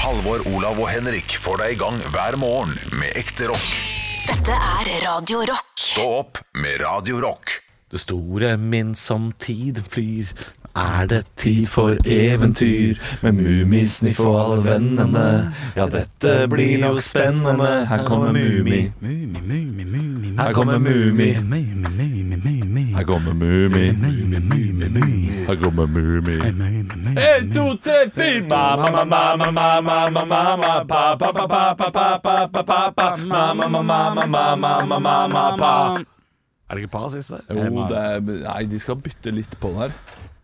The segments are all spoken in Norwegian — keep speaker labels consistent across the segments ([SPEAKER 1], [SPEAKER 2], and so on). [SPEAKER 1] Halvor, Olav og Henrik får deg i gang hver morgen med ekte rock.
[SPEAKER 2] Dette er Radio Rock.
[SPEAKER 1] Stå opp med Radio Rock.
[SPEAKER 3] Det store min som tiden flyr Er det tid for eventyr Med mumisniff og alle vennene Ja, dette blir nok spennende Her kommer mumi
[SPEAKER 4] Mumi, mumi, mumi, mumi.
[SPEAKER 3] Her kommer mumi
[SPEAKER 4] Mumi, mumi, mumi, mumi.
[SPEAKER 3] Her kommer mumi
[SPEAKER 4] Mumi, mumi, mumi.
[SPEAKER 3] Her kommer mumi
[SPEAKER 4] Mumi, mumi,
[SPEAKER 3] En,
[SPEAKER 4] mumi.
[SPEAKER 3] to, tre, fire Mamma, mamma, mamma, mamma, mamma Pa, pa, pa, pa, pa, pa, pa, pa, pa, pa Mamma, mamma, mamma, mamma, mamma, pa
[SPEAKER 4] Er det ikke pa siste?
[SPEAKER 3] Jo, det er, nei, de skal bytte litt på den her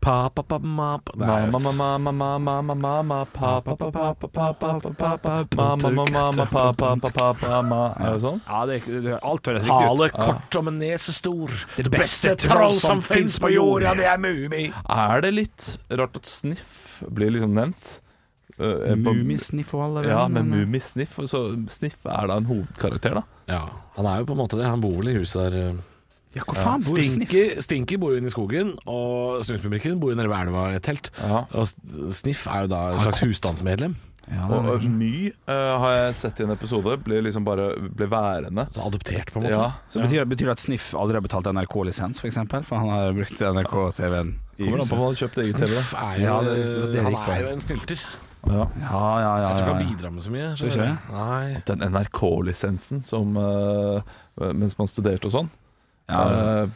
[SPEAKER 4] Pa, pa, pa, ma, pa. Nei,
[SPEAKER 3] Mamma, mamma, mamma, mamma, mamma, pa, pa, pa, pa, pa, pa, pa, pa, pa, pa, mamma, mamma, mamma, pa, pa, pa, pa, pa, ma. Er det sånn?
[SPEAKER 5] Ja, det, det, alt høres riktig ut.
[SPEAKER 4] Hale kort og med nese stor. Det
[SPEAKER 5] beste troll som finnes på jord, ja,
[SPEAKER 4] det er Mumi.
[SPEAKER 3] Er det litt rart at sniff blir liksom nevnt? Eh, på-
[SPEAKER 4] Mumisniff og alle
[SPEAKER 3] Ja, men
[SPEAKER 4] vennene.
[SPEAKER 3] Mumisniff. Så Sniff er da en hovedkarakter, da.
[SPEAKER 6] Ja, han er jo på en måte det. Han bor vel i huset der.
[SPEAKER 4] Ja, hvor faen bor Sniff?
[SPEAKER 6] Stinker, Stinker bor jo inne i skogen, og Snusmumrikken bor jo nede ved elva i et telt.
[SPEAKER 3] Ja.
[SPEAKER 6] Og S- Sniff er jo da et slags husstandsmedlem.
[SPEAKER 4] Ja, det er
[SPEAKER 3] Og eh, My eh, har jeg sett i en episode. Blir liksom bare ble værende.
[SPEAKER 6] Så adoptert, på en måte.
[SPEAKER 3] Ja.
[SPEAKER 5] Så betyr, betyr det at Sniff aldri har betalt NRK-lisens, f.eks.? For, for han har brukt NRK-TV-en i
[SPEAKER 3] Kommer an på om
[SPEAKER 5] huset?
[SPEAKER 3] han har kjøpt eget TV.
[SPEAKER 6] Sniff
[SPEAKER 3] da.
[SPEAKER 6] er jo,
[SPEAKER 5] Ja, det- det- det
[SPEAKER 6] han
[SPEAKER 5] gikk
[SPEAKER 6] er
[SPEAKER 5] på.
[SPEAKER 6] jo en snylter.
[SPEAKER 5] Ja, ja, ja.
[SPEAKER 6] Jeg tror
[SPEAKER 5] ja,
[SPEAKER 6] ikke han
[SPEAKER 5] ja.
[SPEAKER 6] bidrar med så mye.
[SPEAKER 5] du ikke det?
[SPEAKER 6] Nei.
[SPEAKER 3] Den NRK-lisensen som eh, Mens man studerte og sånn.
[SPEAKER 5] ja.
[SPEAKER 3] Eh,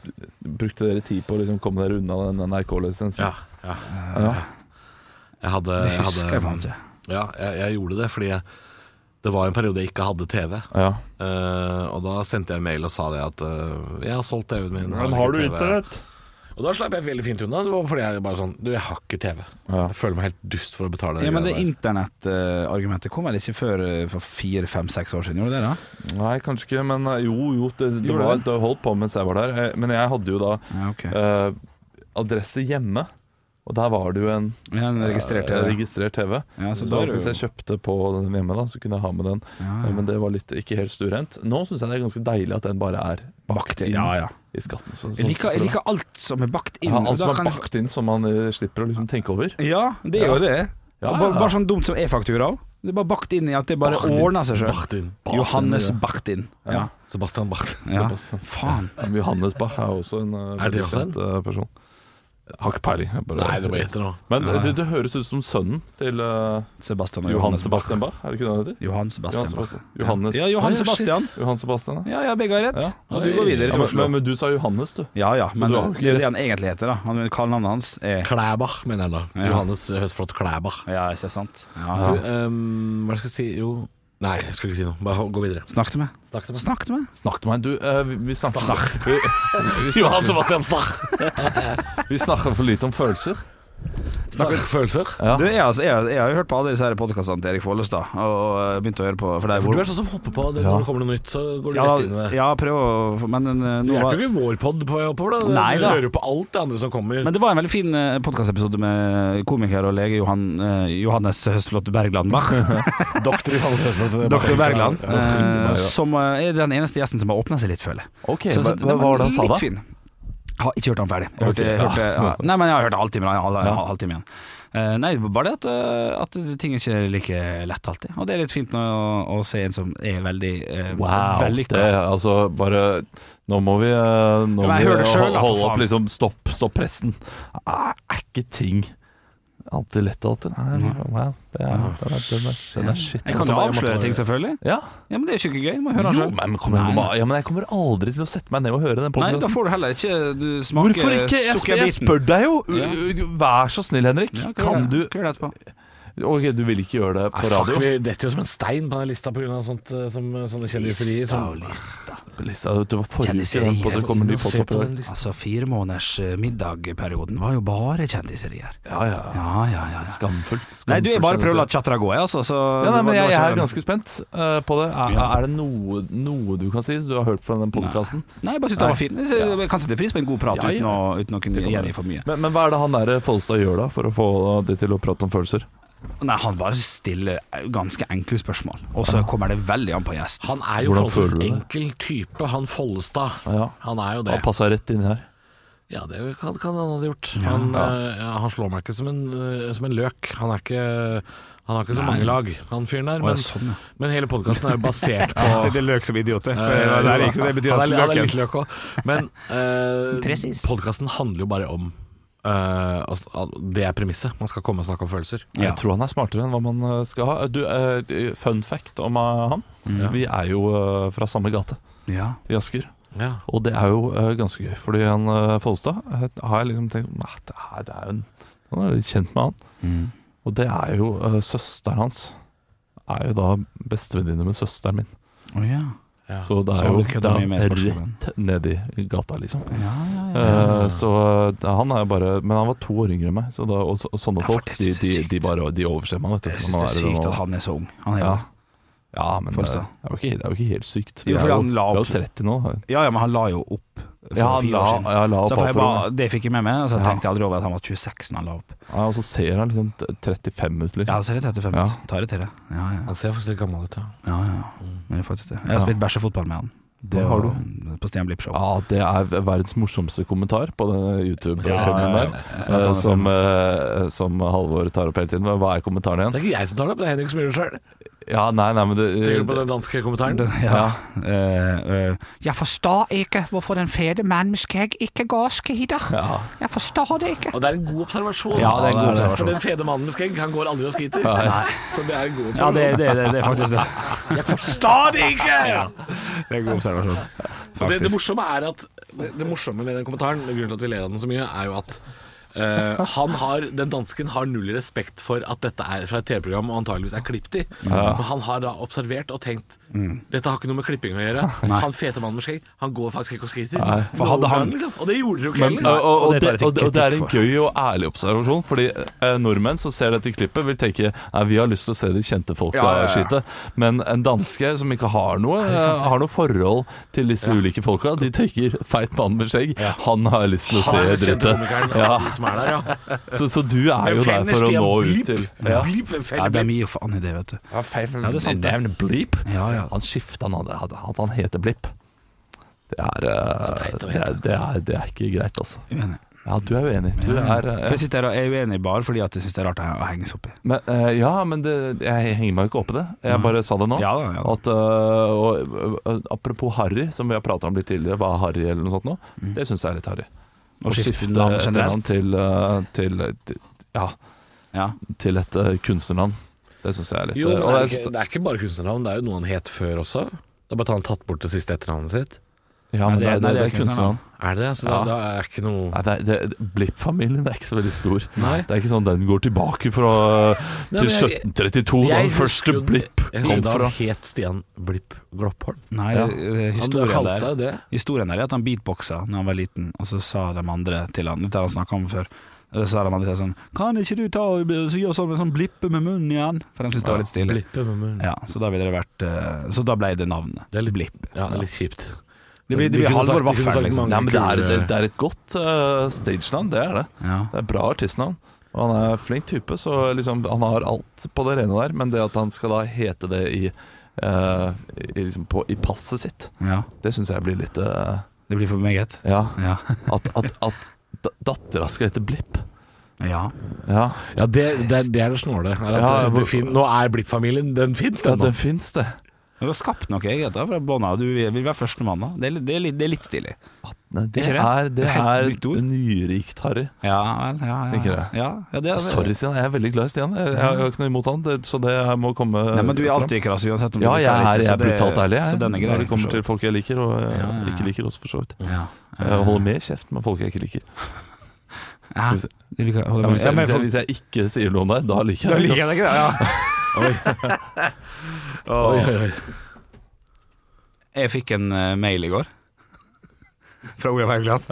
[SPEAKER 3] brukte dere tid på å liksom komme dere unna den NRK-lisensen?
[SPEAKER 6] Ja, ja. Jeg hadde,
[SPEAKER 5] Det
[SPEAKER 6] jeg
[SPEAKER 5] husker jeg
[SPEAKER 6] hadde
[SPEAKER 5] faen ikke.
[SPEAKER 6] Ja, jeg, jeg gjorde det fordi jeg, det var en periode jeg ikke hadde TV.
[SPEAKER 3] ja.
[SPEAKER 6] Eh, og da sendte jeg mail og sa det at eh, jeg har solgt TV-en min. jeg ikke TV. Og da slapp jeg veldig fint unna. Det var fordi jeg bare sånn Du, jeg har ikke TV.
[SPEAKER 3] Ja.
[SPEAKER 6] Jeg føler meg helt dust for å betale
[SPEAKER 5] Ja, men det
[SPEAKER 6] greiene der.
[SPEAKER 5] internettargumentet kom vel ikke før eh, for fire, fem, seks år siden? Gjorde det det? da?
[SPEAKER 3] Nei, kanskje ikke, men eh, jo, jo, det, det,
[SPEAKER 5] Gjorde
[SPEAKER 3] var,
[SPEAKER 5] det?
[SPEAKER 3] det holdt på mens jeg var der. Eh, Men jeg hadde jo da
[SPEAKER 5] Ja, ok.
[SPEAKER 3] eh, adresse hjemme, og der var det jo en
[SPEAKER 5] Ja, den registrerte
[SPEAKER 3] eh,
[SPEAKER 5] det.
[SPEAKER 3] registrert TV.
[SPEAKER 5] Ja,
[SPEAKER 3] Så
[SPEAKER 5] så
[SPEAKER 3] da,
[SPEAKER 5] da er det
[SPEAKER 3] hvis
[SPEAKER 5] jo- Ah,
[SPEAKER 3] jeg kjøpte på den hjemme, da, så kunne jeg ha med den.
[SPEAKER 5] Ja,
[SPEAKER 3] Eh, Men det var litt, ikke helt stuerent. Nå syns jeg det er ganske deilig at den bare er bakt inn
[SPEAKER 5] ja, ja.
[SPEAKER 3] i skatten. Så,
[SPEAKER 5] Jeg liker, jeg liker alt som er bakt inn.
[SPEAKER 3] ja,
[SPEAKER 5] og
[SPEAKER 3] alt
[SPEAKER 5] da
[SPEAKER 3] som er
[SPEAKER 5] kan-
[SPEAKER 3] bakt inn, som man eh, slipper å liksom tenke over.
[SPEAKER 5] Ja, det er jo det.
[SPEAKER 3] Ja,
[SPEAKER 5] Bare,
[SPEAKER 3] ja.
[SPEAKER 5] bare sånn dumt som e-faktura. Det er bare bakt inn i at det bare
[SPEAKER 6] Bakt inn.
[SPEAKER 5] ordner seg sjøl.
[SPEAKER 6] Bartin. Bartin.
[SPEAKER 5] Johannes bakt inn. Ja.
[SPEAKER 6] Sebastian Bartin.
[SPEAKER 5] ja.
[SPEAKER 3] Det passer.
[SPEAKER 5] Faen.
[SPEAKER 3] Johannes Bach er også en eh,
[SPEAKER 6] Er det
[SPEAKER 3] veldig
[SPEAKER 6] også en?
[SPEAKER 3] kjent eh, person. Har ikke peiling. jeg bare-
[SPEAKER 6] Nei, det var etter nå.
[SPEAKER 3] Men eh, det, det høres ut som sønnen til eh,
[SPEAKER 5] Sebastian og
[SPEAKER 3] Johan
[SPEAKER 5] Johannes Bach.
[SPEAKER 3] Sebastian Bach. Er det ikke det han heter?
[SPEAKER 5] Johan Sebastian.
[SPEAKER 3] Johan
[SPEAKER 5] Bach.
[SPEAKER 3] Sebastian. Johannes.
[SPEAKER 5] Ja, Johan
[SPEAKER 6] Ja, shit.
[SPEAKER 5] Sebastian.
[SPEAKER 3] Johan Sebastian. ja.
[SPEAKER 5] Ja, ja, begge har rett.
[SPEAKER 3] Ja.
[SPEAKER 5] Og du går videre
[SPEAKER 3] Ja,
[SPEAKER 5] til
[SPEAKER 3] men,
[SPEAKER 5] Oslo.
[SPEAKER 3] men, men du sa Johannes, du.
[SPEAKER 5] Ja ja, men
[SPEAKER 3] du
[SPEAKER 5] det
[SPEAKER 3] har
[SPEAKER 5] er jo det han egentlig heter, da. Han, Kallenavnet hans er
[SPEAKER 6] Klæbach, mener jeg da.
[SPEAKER 5] Ja.
[SPEAKER 6] Johannes Høstflot Klæbach.
[SPEAKER 5] Ja, ikke sant? Ja,
[SPEAKER 6] Du,
[SPEAKER 5] ja.
[SPEAKER 6] ehm, hva skal jeg si? Jo Nei, jeg skal ikke si noe. Bare gå videre.
[SPEAKER 5] Snakk til meg.
[SPEAKER 6] Snakk til meg.
[SPEAKER 5] Snakk til meg.
[SPEAKER 3] Snakk til meg. Du, eh, vi, vi snakker
[SPEAKER 6] Johan Sebastian, snakk!
[SPEAKER 3] Vi snakker for lite om følelser.
[SPEAKER 6] Snakk om følelser.
[SPEAKER 3] Ja.
[SPEAKER 5] Du, jeg, altså, jeg, jeg har jo hørt på alle disse her podkastene til Erik Follestad, og eh, begynt å høre på For det er
[SPEAKER 6] For du
[SPEAKER 5] hvor
[SPEAKER 6] er sånn som hopper på. Det, Når det kommer noe nytt, så går du
[SPEAKER 5] Ja,
[SPEAKER 6] rett inn i det.
[SPEAKER 5] ja prøv å Men, eh,
[SPEAKER 6] Du
[SPEAKER 5] nå
[SPEAKER 6] er
[SPEAKER 5] var,
[SPEAKER 6] jo ikke vår pod på oppover, da.
[SPEAKER 5] Nei
[SPEAKER 6] du
[SPEAKER 5] da.
[SPEAKER 6] hører jo på alt det andre som
[SPEAKER 3] Mm.
[SPEAKER 6] kommer.
[SPEAKER 5] men det var en veldig fin podkastepisode med komiker og lege Johan, eh, Johannes Høstflot Bergland Bach.
[SPEAKER 6] Doktor Johannes Høstflot.
[SPEAKER 5] Dr. Bergland.
[SPEAKER 3] Ja, ja.
[SPEAKER 5] eh, Som eh, er den eneste gjesten som har åpna seg litt, føler jeg.
[SPEAKER 3] Ok,
[SPEAKER 5] Så- så-
[SPEAKER 3] hva, hva var det han sa da?
[SPEAKER 5] Litt fin. Jeg har ikke hørt han ferdig. Jeg hørte,
[SPEAKER 3] Ok.
[SPEAKER 5] jeg hørte, ja. Nei, men jeg har hørt halvtimen. Jeg har, jeg
[SPEAKER 3] Ja.
[SPEAKER 5] har halvtimen igjen. Eh, nei, det var bare det at, eh, at ting er ikke er like lett alltid. Og det er litt fint nå å, å se en som er veldig uh, vellykka.
[SPEAKER 3] Det, altså, bare Nå må vi, eh, nå
[SPEAKER 5] Ja,
[SPEAKER 3] må
[SPEAKER 5] men jeg hører
[SPEAKER 3] vi
[SPEAKER 5] det selv,
[SPEAKER 3] hol-
[SPEAKER 5] da, for
[SPEAKER 3] holde opp
[SPEAKER 5] faen.
[SPEAKER 3] liksom, Stopp, stopp pressen. Er, er ikke ting alltid lett alltid? Nei, wow, det er, den er, den er, den er shit.
[SPEAKER 5] Jeg kan jo
[SPEAKER 3] altså.
[SPEAKER 5] avsløre ting, selvfølgelig.
[SPEAKER 3] Ja.
[SPEAKER 5] Ja, Men det er jo ikke gøy. Du Må høre han
[SPEAKER 3] Jo,
[SPEAKER 5] selv.
[SPEAKER 3] men, kom igjen, du må-
[SPEAKER 5] Nei,
[SPEAKER 3] ja, men jeg kommer aldri til å sette meg ned og høre den
[SPEAKER 5] Nei, da
[SPEAKER 3] podkasten.
[SPEAKER 5] får du heller ikke du smake
[SPEAKER 3] Hvorfor ikke? Jeg, spør- jeg
[SPEAKER 5] sukkerbiten.
[SPEAKER 3] spør deg jo!
[SPEAKER 5] Ja.
[SPEAKER 3] U- u- Vær så snill, Henrik.
[SPEAKER 5] Ja, hva gjør
[SPEAKER 3] Kan
[SPEAKER 5] jeg?
[SPEAKER 3] du
[SPEAKER 5] Hva gjør jeg etterpå?
[SPEAKER 3] Ok, du vil ikke gjøre det
[SPEAKER 6] Nei,
[SPEAKER 3] på
[SPEAKER 6] fuck,
[SPEAKER 3] radio?
[SPEAKER 6] vi detter jo som en stein på den lista pga. eh, sånne sånn- kjendiserier. Som,
[SPEAKER 5] sånn- lista.
[SPEAKER 3] Lista, det var forrige uke
[SPEAKER 5] Kjendiserier.
[SPEAKER 3] den, på det kommer ny
[SPEAKER 6] Se på
[SPEAKER 3] podkast.
[SPEAKER 6] den lista.
[SPEAKER 5] Altså, fire måneders eh, middagperioden var jo bare kjendiserier.
[SPEAKER 3] Ja, ja.
[SPEAKER 5] Ja, ja, ja. ja.
[SPEAKER 3] Skamfullt. skamfullt
[SPEAKER 5] Nei, du er bare prøvd å la
[SPEAKER 3] kjendis.
[SPEAKER 5] chatra gå, jeg, altså. Så
[SPEAKER 3] ja, nei,
[SPEAKER 5] det var-
[SPEAKER 3] men
[SPEAKER 5] det var
[SPEAKER 3] jeg, jeg
[SPEAKER 5] ikke-
[SPEAKER 3] er ganske spent eh, på det. Er, er det noe, noe du kan si som du har hørt fra den podkasten?
[SPEAKER 5] Nei, jeg bare syns den var fin. Jeg synes- Jeg kan sette pris på en god prat
[SPEAKER 3] Ja, ja.
[SPEAKER 5] Uten, å, uten å kunne gjengi for mye.
[SPEAKER 3] Men, men hva er det han der eh, Follestad gjør da, for å få det til å prate om følelser?
[SPEAKER 5] Nei, han bare stiller eh, ganske enkle spørsmål, og så kommer det veldig an på gjesten.
[SPEAKER 6] Han er jo
[SPEAKER 3] Hvordan
[SPEAKER 6] forholdsvis
[SPEAKER 3] føler du det?
[SPEAKER 6] enkel type, han Follestad.
[SPEAKER 3] Ja.
[SPEAKER 6] Han er jo det.
[SPEAKER 3] Han passer rett inn her.
[SPEAKER 6] Ja, det kan, kan han ha gjort. Han, eh, ja, han slår meg ikke som en, eh, som en løk. Han er ikke han har ikke så
[SPEAKER 5] Nei.
[SPEAKER 6] mange lag, han fyren der.
[SPEAKER 5] Å, ja,
[SPEAKER 6] Men,
[SPEAKER 5] sånn, ja.
[SPEAKER 6] men hele podkasten er jo basert på
[SPEAKER 7] Det er løk som idioter.
[SPEAKER 6] Eh,
[SPEAKER 7] Det, er- det, er ikke- det betyr
[SPEAKER 6] han
[SPEAKER 7] at
[SPEAKER 6] er, han er litt
[SPEAKER 7] løken
[SPEAKER 6] løk òg. Men eh,
[SPEAKER 5] Presis.
[SPEAKER 6] podkasten handler jo bare om eh, altså, at Det er premisset. Man skal komme og snakke om følelser.
[SPEAKER 5] Ja.
[SPEAKER 3] Jeg tror han er smartere enn hva man eh, skal ha. Du, eh, fun fact om eh, han.
[SPEAKER 5] Mm.
[SPEAKER 3] Vi er jo eh, fra samme gate
[SPEAKER 5] Ja.
[SPEAKER 3] i Asker.
[SPEAKER 6] Ja.
[SPEAKER 3] Og det er jo eh, ganske gøy, fordi han eh, Follestad eh, har jeg liksom tenkt Nei, det er, det er jo en Han er litt kjent med han.
[SPEAKER 5] Mm.
[SPEAKER 3] Og det er jo eh, søsteren hans. Er jo da bestevenninne med søsteren min.
[SPEAKER 5] Å, ja.
[SPEAKER 3] Så det
[SPEAKER 5] Så
[SPEAKER 3] er
[SPEAKER 5] han
[SPEAKER 3] jo
[SPEAKER 5] vil kødde mye
[SPEAKER 3] det
[SPEAKER 5] med
[SPEAKER 3] er
[SPEAKER 5] sportsklubben.
[SPEAKER 3] rett nedi gata, liksom.
[SPEAKER 5] Ja, ja, ja.
[SPEAKER 3] Eh, Så eh, han er jo bare Men han var to år yngre enn meg, så da, og, så, og sånne
[SPEAKER 5] Ja, for
[SPEAKER 3] folk
[SPEAKER 5] det
[SPEAKER 3] de,
[SPEAKER 5] synes jeg
[SPEAKER 3] de,
[SPEAKER 5] er sykt.
[SPEAKER 3] de bare de overser man, vet du.
[SPEAKER 5] Jeg
[SPEAKER 3] når
[SPEAKER 5] syns
[SPEAKER 3] man
[SPEAKER 5] det
[SPEAKER 3] i den
[SPEAKER 5] er sykt at
[SPEAKER 3] alderen.
[SPEAKER 5] han er så ung. Han er
[SPEAKER 3] ja.
[SPEAKER 5] jo
[SPEAKER 3] ja, men eh, det
[SPEAKER 5] Forstå.
[SPEAKER 3] er jo ikke, det er jo ikke helt sykt. Vi
[SPEAKER 5] Jo,
[SPEAKER 3] er
[SPEAKER 5] fordi
[SPEAKER 3] jo,
[SPEAKER 5] han
[SPEAKER 3] vi
[SPEAKER 5] la
[SPEAKER 3] er jo
[SPEAKER 5] opp-
[SPEAKER 3] 30 nå.
[SPEAKER 5] Ja, ja, men han la jo opp for
[SPEAKER 3] Ja, han
[SPEAKER 5] fire
[SPEAKER 3] la,
[SPEAKER 5] år siden.
[SPEAKER 3] ja, la
[SPEAKER 5] Så
[SPEAKER 3] opp
[SPEAKER 5] jeg
[SPEAKER 3] altfor
[SPEAKER 5] bare,
[SPEAKER 3] ung.
[SPEAKER 5] det fikk jeg med meg, så jeg
[SPEAKER 3] Ja.
[SPEAKER 5] tenkte aldri over at han var 26 da han la opp.
[SPEAKER 3] Ja, og så ser han liksom t- 35 ut,
[SPEAKER 5] Ja,
[SPEAKER 3] liksom.
[SPEAKER 5] det ser litt 35
[SPEAKER 3] Ja.
[SPEAKER 5] ut. Tar det til det. Ja, ja.
[SPEAKER 6] Han ser faktisk litt gammel ut, ja.
[SPEAKER 5] ja, ja. Det er faktisk det. Jeg har
[SPEAKER 3] Ja.
[SPEAKER 5] spilt bæsjefotball med han.
[SPEAKER 3] Det har du.
[SPEAKER 5] På Stian Blipp-show.
[SPEAKER 3] Ja, det er verdens morsomste kommentar på den YouTube-filmen
[SPEAKER 5] Ja,
[SPEAKER 3] der.
[SPEAKER 5] jeg snakker om
[SPEAKER 3] eh,
[SPEAKER 5] det.
[SPEAKER 3] Som, eh, som Halvor tar opp hele tiden. Men Hva er kommentaren
[SPEAKER 6] Det er
[SPEAKER 3] igjen?
[SPEAKER 6] ikke jeg som tar det opp, det er Henrik som gjør det sjøl.
[SPEAKER 3] Ja, nei, nei, men det,
[SPEAKER 6] Tenker du på den danske kommentaren?
[SPEAKER 5] Den- Ja. Eh, eh, jeg forstår ikke hvorfor den fede mann med skjegg ikke går skider. Jeg forstår det ikke.
[SPEAKER 6] Og det er en god observasjon.
[SPEAKER 5] Ja, det er en god observasjon.
[SPEAKER 6] For den fede mannen med skjegg, han går aldri og skiter. Så det er en god
[SPEAKER 5] Ja,
[SPEAKER 6] observasjon.
[SPEAKER 5] det, det, det, det er faktisk det.
[SPEAKER 6] Jeg forstår det ikke!
[SPEAKER 5] Det er en god observasjon.
[SPEAKER 6] Og det, det
[SPEAKER 5] Faktisk.
[SPEAKER 6] morsomme er at det, det morsomme med den kommentaren, grunnen til at vi ler av den så mye, er jo at eh, han har, den dansken har null respekt for at dette er fra et TV-program og antageligvis er klippet i. Men han har da observert og tenkt
[SPEAKER 5] Mm.
[SPEAKER 6] dette har ikke noe med klipping å gjøre. Han fete mannen med skjegg, han går faktisk ikke og skriter.
[SPEAKER 5] For hadde
[SPEAKER 6] Nå
[SPEAKER 5] han-
[SPEAKER 6] går liksom. Og det gjorde dere jo ikke
[SPEAKER 3] Men, og,
[SPEAKER 6] heller.
[SPEAKER 3] og,
[SPEAKER 5] og
[SPEAKER 3] og, det,
[SPEAKER 5] det tar jeg til
[SPEAKER 3] og, det- og det er en
[SPEAKER 5] kritikk for.
[SPEAKER 3] gøy og ærlig observasjon, fordi eh, nordmenn som ser dette klippet, vil tenke Nei, vi har lyst til å se de kjente folka
[SPEAKER 5] Ja, ja, ja.
[SPEAKER 3] skyte. Men en danske som ikke har noe eh, Har noe forhold til disse ulike folka, de tenker feit mann med skjegg, han har lyst til å
[SPEAKER 6] Han er
[SPEAKER 3] se
[SPEAKER 6] den kjente
[SPEAKER 3] drittet.
[SPEAKER 6] komikeren
[SPEAKER 3] Ja.
[SPEAKER 6] som er der, ja.
[SPEAKER 3] Så, så du er jo der for å nå ut til
[SPEAKER 6] Ja.
[SPEAKER 3] ja.
[SPEAKER 5] Ja, de gir jo faen i det, vet du. Ja, det er sant. det.
[SPEAKER 3] Nevn Bleep.
[SPEAKER 5] Ja, ja.
[SPEAKER 3] Han skifta navn. At han, han heter Blipp. Det
[SPEAKER 6] Det
[SPEAKER 3] er, eh,
[SPEAKER 6] er teit å
[SPEAKER 3] det, er, det, er, det er ikke greit, altså.
[SPEAKER 5] Uenig.
[SPEAKER 3] Ja, du er uenig. Du er eh,
[SPEAKER 5] For jeg, synes det er, jeg er uenig bare fordi at jeg syns det er rart å henge seg opp i.
[SPEAKER 3] Men, eh, ja, men det, jeg henger meg jo ikke opp i det. Jeg bare sa det nå.
[SPEAKER 5] Ja da, ja da.
[SPEAKER 3] At, eh, og, eh, apropos harry, som vi har prata om litt tidligere, hva er harry eller noe sånt nå, det syns jeg er litt harry.
[SPEAKER 5] Å skifte navn
[SPEAKER 3] et
[SPEAKER 5] generelt?
[SPEAKER 3] navn til, eh, til, til, ja,
[SPEAKER 5] Ja.
[SPEAKER 3] til et eh, kunstnernavn. Det syns jeg er litt
[SPEAKER 6] Jo,
[SPEAKER 3] eh,
[SPEAKER 6] men
[SPEAKER 3] og
[SPEAKER 6] det er,
[SPEAKER 3] jeg
[SPEAKER 6] ikke,
[SPEAKER 3] syns-
[SPEAKER 6] det er ikke bare kunstnernavn, det er jo noe han het før også. Det er bare at han har tatt bort det siste etternavnet sitt.
[SPEAKER 3] ja, men
[SPEAKER 5] Nei,
[SPEAKER 3] det,
[SPEAKER 5] det-
[SPEAKER 3] det,
[SPEAKER 5] nei,
[SPEAKER 3] det
[SPEAKER 5] det
[SPEAKER 3] er
[SPEAKER 5] er kunstnernavn.
[SPEAKER 3] kunstnernavn.
[SPEAKER 6] Er det det? Så
[SPEAKER 3] Ja.
[SPEAKER 6] det, det er ikke noe
[SPEAKER 3] Nei, det er- det- Blipp-familien er ikke så veldig stor.
[SPEAKER 6] Nei.
[SPEAKER 3] Det er ikke sånn den går tilbake fra,
[SPEAKER 6] Nei,
[SPEAKER 3] til
[SPEAKER 6] men jeg-
[SPEAKER 3] 1732, da
[SPEAKER 6] Jeg
[SPEAKER 3] den første
[SPEAKER 6] husker jo-
[SPEAKER 3] Blipp
[SPEAKER 6] Jeg
[SPEAKER 3] kom
[SPEAKER 6] husker da
[SPEAKER 3] fra.
[SPEAKER 6] han het Stian Blipp Gloppholm.
[SPEAKER 5] Nei,
[SPEAKER 3] Ja.
[SPEAKER 5] eh,
[SPEAKER 6] Han
[SPEAKER 5] historien
[SPEAKER 6] kalte
[SPEAKER 5] der
[SPEAKER 6] seg det.
[SPEAKER 5] Historien der er at han beatboxa Når han var liten, og så sa de andre til han Dette har han snakket om før. Så sa de andre til han sånn Kan ikke du ta og så gjøre sånn med sånn blippe med munnen igjen? For de syntes det var litt stilig.
[SPEAKER 6] Blippe med munnen.
[SPEAKER 5] Ja, så da ville det vært eh, Så da ble det navnet.
[SPEAKER 6] Det er litt blipp. Ja, det er litt kjipt.
[SPEAKER 5] Det blir, det
[SPEAKER 6] Vi
[SPEAKER 5] blir
[SPEAKER 6] kunne sagt-
[SPEAKER 5] Halvor
[SPEAKER 6] vi kunne
[SPEAKER 5] Vaffel,
[SPEAKER 6] sagt
[SPEAKER 5] liksom.
[SPEAKER 6] mange
[SPEAKER 3] Nei, men det er,
[SPEAKER 6] kule-
[SPEAKER 3] det, det er et godt uh, stagenavn, det er det.
[SPEAKER 5] Ja.
[SPEAKER 3] Det er bra artistnavn. Og han er flink type, så liksom, han har alt på det rene der. Men det at han skal da hete det i, eh, i, liksom på, i passet sitt,
[SPEAKER 5] ja.
[SPEAKER 3] det syns jeg blir litt eh,
[SPEAKER 5] Det blir for meget.
[SPEAKER 3] Ja.
[SPEAKER 5] Ja.
[SPEAKER 3] At, at, at da- dattera skal hete Blipp.
[SPEAKER 5] ja.
[SPEAKER 3] Ja,
[SPEAKER 6] Ja, det, det, er- det er det snåle. Er at eh,
[SPEAKER 3] Ja,
[SPEAKER 6] det,
[SPEAKER 3] hvor-
[SPEAKER 6] det fin, nå er Blipp-familien Den fins,
[SPEAKER 3] ja
[SPEAKER 6] den nå.
[SPEAKER 3] den fins, det.
[SPEAKER 5] Du har skapt noe eget da, fra bånda. Du vil være førstemann, da. Det er, litt- det er, litt- det er litt stilig.
[SPEAKER 3] Nei, det,
[SPEAKER 5] Ikke det?
[SPEAKER 3] er, det
[SPEAKER 5] Det er helt nytt ord.
[SPEAKER 3] er nyrikt, Harry.
[SPEAKER 5] Ja vel, ja, ja.
[SPEAKER 3] Tenker jeg.
[SPEAKER 5] Ja, ja, det er,
[SPEAKER 3] Sorry, Stian. Jeg er veldig glad i Stian. Jeg, jeg har ikke noe imot han, det, så det her må komme
[SPEAKER 5] Nei, men du er
[SPEAKER 3] fram.
[SPEAKER 5] alltid krass uansett om
[SPEAKER 3] Ja, jeg
[SPEAKER 5] du liker
[SPEAKER 3] er,
[SPEAKER 5] det,
[SPEAKER 3] jeg
[SPEAKER 5] så
[SPEAKER 3] er
[SPEAKER 5] det-
[SPEAKER 3] brutalt ærlig
[SPEAKER 5] Så
[SPEAKER 3] jeg,
[SPEAKER 5] den er grei.
[SPEAKER 3] når det kommer
[SPEAKER 5] for så
[SPEAKER 3] til folk jeg liker, og eh,
[SPEAKER 5] Ja, ja, ja.
[SPEAKER 3] ikke liker også, for så vidt.
[SPEAKER 5] vidt. Ja.
[SPEAKER 3] Jeg holder mer kjeft med folk jeg ikke liker. Skal
[SPEAKER 5] Hæ?
[SPEAKER 3] vi se.
[SPEAKER 5] Du liker, holder
[SPEAKER 3] Ja,
[SPEAKER 5] med.
[SPEAKER 3] hvis, jeg, hvis, jeg, hvis jeg ikke sier noe om deg, da liker jeg deg. ass.
[SPEAKER 6] Oi, oi, oi.
[SPEAKER 5] Jeg fikk en eh, mail i går. Fra Olav Haugland.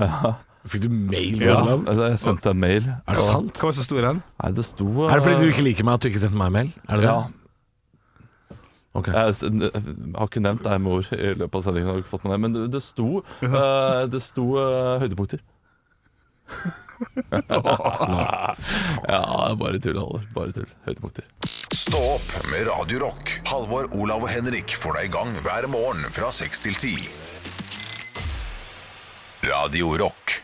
[SPEAKER 6] Fikk du mail?
[SPEAKER 3] Ja,
[SPEAKER 6] Olav?
[SPEAKER 3] altså, jeg sendte en mail.
[SPEAKER 6] Er det sant?
[SPEAKER 5] Hva var så stor den?
[SPEAKER 3] Nei, det sto
[SPEAKER 6] Er det fordi du ikke liker meg at du ikke sendte meg mail? Er det det?
[SPEAKER 3] Ja.
[SPEAKER 6] Ok.
[SPEAKER 3] eh, Jeg s- n- har ikke nevnt deg med ord i løpet av sendingen, har ikke fått med det, men det- det sto, eh, det sto eh, høydepunkter. ja, det er bare tull, Halvor. Bare tull. Høydepunkter.
[SPEAKER 1] Stå opp med Radio Rock. Halvor, Olav og Henrik får deg i gang hver morgen fra 6 til 10. Radio Rock.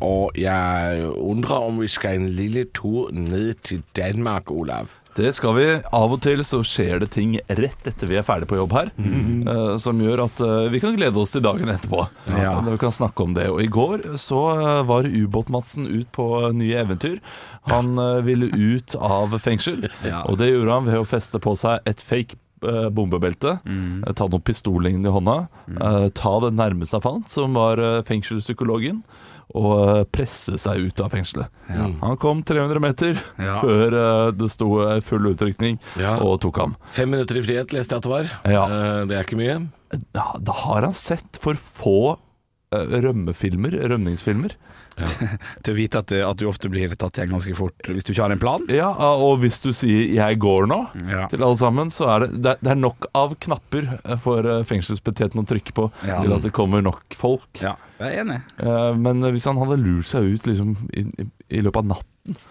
[SPEAKER 6] og jeg undrer om vi skal en lille tur ned til Danmark, Olav.
[SPEAKER 3] Det skal vi. Av og til så skjer det ting rett etter vi er ferdig på jobb her, eh, som gjør at eh, vi kan glede oss til dagen etterpå.
[SPEAKER 5] Ja.
[SPEAKER 3] Når vi kan snakke om det. Og i går så eh, var Ubåt-Madsen ut på eh, nye eventyr. Han eh, ville ut av fengsel, og det gjorde han ved å feste på seg et fake eh, bombebelte, eh, ta noen pistollignende i hånda, eh, ta den nærmeste han fant, som var eh, fengselspsykologen, og eh, presse seg ut av fengselet. Han kom 300 meter
[SPEAKER 5] Ja.
[SPEAKER 3] før eh, det sto eh, full utrykning,
[SPEAKER 6] Ja.
[SPEAKER 3] og tok ham.
[SPEAKER 6] Fem minutter i frihet leste jeg at det var.
[SPEAKER 3] Ja.
[SPEAKER 6] Eh, Det er ikke mye.
[SPEAKER 3] Da, da har han sett for få eh, rømmefilmer, rømningsfilmer.
[SPEAKER 5] Til å vite at, eh, at du ofte blir tatt igjen ganske fort hvis du ikke har en plan.
[SPEAKER 3] Ja, eh, og hvis du sier 'jeg går nå'
[SPEAKER 5] Ja.
[SPEAKER 3] til alle sammen, så er det, det, er- det er nok av knapper for eh, fengselsbetjenten å trykke på
[SPEAKER 5] Ja.
[SPEAKER 3] til at det kommer nok folk.
[SPEAKER 5] Ja, jeg er enig.
[SPEAKER 3] Eh, Men hvis han hadde lurt seg ut liksom, i, i, i løpet av natten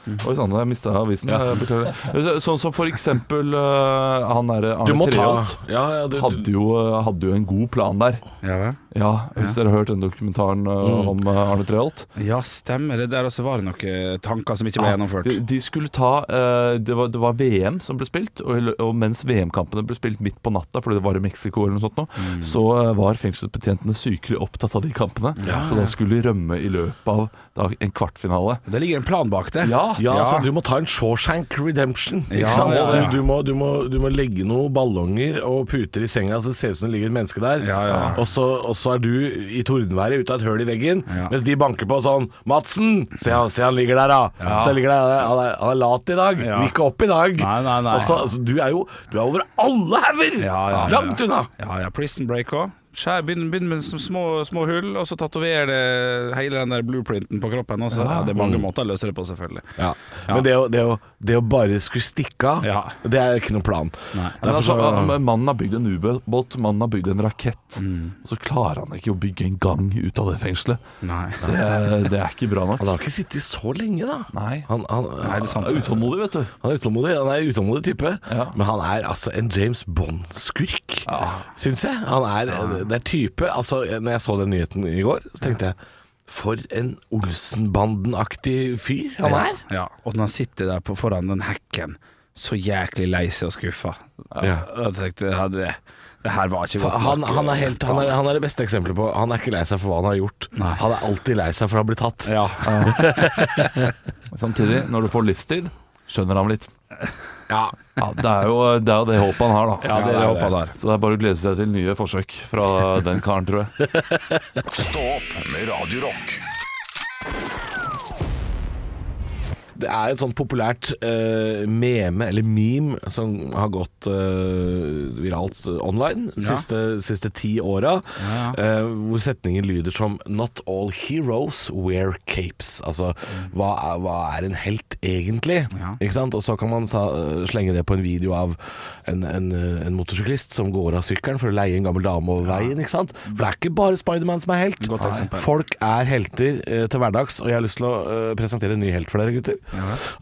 [SPEAKER 6] Mm.
[SPEAKER 3] Oi sann, jeg mista avisen. eh, beklager. Så- Sånn som for eksempel eh, han derre
[SPEAKER 6] Du må
[SPEAKER 3] Arne
[SPEAKER 6] ta
[SPEAKER 3] Treholt.
[SPEAKER 6] ja, ja, du,
[SPEAKER 3] Hadde jo, eh, hadde jo en god plan der.
[SPEAKER 5] Ja, vel?
[SPEAKER 3] Ja, Hvis dere har hørt den dokumentaren eh, om eh, Arne Treholt.
[SPEAKER 5] ja stemmer det. Der også var det noen eh, tanker som ikke ble gjennomført.
[SPEAKER 3] De, de skulle ta eh, det, var, det var VM som ble spilt, og, i lø- og mens VM-kampene ble spilt midt på natta fordi det var i Mexico, eller noe sånt nå, så eh, var fengselsbetjentene sykelig opptatt av de kampene. Så da skulle de rømme i løpet av da, en kvartfinale.
[SPEAKER 5] Det ligger en plan bak det.
[SPEAKER 3] Ja,
[SPEAKER 6] ja,
[SPEAKER 5] Ja.
[SPEAKER 6] Så du må ta en Shawshank Redemption. Ikke
[SPEAKER 5] Ja,
[SPEAKER 6] sant?
[SPEAKER 5] ja,
[SPEAKER 6] Så
[SPEAKER 5] ja.
[SPEAKER 6] Du, du, må, du, må, du må legge noen ballonger og puter i senga, så det ser ut som det ligger et menneske der.
[SPEAKER 5] Ja, ja.
[SPEAKER 6] Og, så, og så er du i tordenværet ute av et høl i veggen,
[SPEAKER 5] Ja.
[SPEAKER 6] mens de banker på sånn 'Madsen! Se, han- se han ligger der, da!' Se, han, ligger der, han, er, han er lat i dag.
[SPEAKER 5] Ja.
[SPEAKER 6] Vil ikke opp i dag.
[SPEAKER 5] Nei, nei, nei.
[SPEAKER 6] Og så, altså, du er jo du er over alle hauger!
[SPEAKER 5] Ja, ja, ja.
[SPEAKER 6] Langt unna!
[SPEAKER 5] Ja, ja, Prison Break òg. Begynn, begynn med s- små, små hull, og så tatover det hele den der blueprinten på kroppen også. Ja, det er mange måter å løse det på, selvfølgelig.
[SPEAKER 6] Ja. Men det å, det, å, det å bare skulle stikke av,
[SPEAKER 5] Ja.
[SPEAKER 6] det er ikke noen plan.
[SPEAKER 5] Nei.
[SPEAKER 3] Men
[SPEAKER 6] Derfor
[SPEAKER 3] altså,
[SPEAKER 6] så-
[SPEAKER 3] eh, mannen har bygd en ubåt, mannen har bygd en rakett. Og så klarer han ikke å bygge en gang ut av det fengselet.
[SPEAKER 5] Nei.
[SPEAKER 3] Det, er- det er ikke bra nok.
[SPEAKER 6] Han har ikke sittet så lenge, da.
[SPEAKER 3] Nei.
[SPEAKER 6] Han, han,
[SPEAKER 5] Nei, det er sant.
[SPEAKER 3] Han er utålmodig, vet du.
[SPEAKER 6] han er utålmodig. Han er en utålmodig type,
[SPEAKER 3] Ja.
[SPEAKER 6] men han er altså en James Bond-skurk, syns jeg. Han er, Det er type Altså, når jeg så den nyheten i går, så tenkte jeg for en Olsenbanden-aktig fyr han er.
[SPEAKER 5] Ja, og når han sitter der på, foran den hekken, så jæklig lei seg og skuffa.
[SPEAKER 6] Ja.
[SPEAKER 5] Jeg tenkte ja, det, det her var ikke
[SPEAKER 6] For
[SPEAKER 5] godt
[SPEAKER 6] Han,
[SPEAKER 5] nok,
[SPEAKER 6] han, er
[SPEAKER 5] eh,
[SPEAKER 6] helt, han, er, han er det beste eksempelet på Han er ikke lei seg for hva han har gjort.
[SPEAKER 5] Nei.
[SPEAKER 6] Han er alltid lei seg for å ha blitt tatt.
[SPEAKER 5] Ja.
[SPEAKER 3] Samtidig, når du får livstid, skjønner han litt.
[SPEAKER 6] Ja,
[SPEAKER 3] Ja, det er jo det, er jo det håpet han har, da.
[SPEAKER 5] ja, det er det håpa der.
[SPEAKER 3] Så det er bare å glede seg til nye forsøk fra den karen, tror jeg.
[SPEAKER 1] Stå opp med Radio Rock.
[SPEAKER 6] Det er et sånn populært eh, meme, eller meme, som har gått eh, viralt eh, online de
[SPEAKER 5] Ja.
[SPEAKER 6] siste, siste ti åra.
[SPEAKER 5] Ja.
[SPEAKER 6] eh, hvor setningen lyder som 'Not all heroes wear capes'. Altså, hva er, hva er en helt egentlig?
[SPEAKER 5] Mm. Ja.
[SPEAKER 6] Ikke sant? Og så kan man sa, eh, slenge det på en video av en, en, eh, en motorsyklist som går av sykkelen for å leie en gammel dame over veien. Ikke sant? For det er ikke bare Spiderman som er helt.
[SPEAKER 5] Godt
[SPEAKER 6] Nei.
[SPEAKER 5] eksempel.
[SPEAKER 6] Folk er helter eh, til hverdags, og jeg har lyst til å eh, presentere en ny helt for dere, gutter.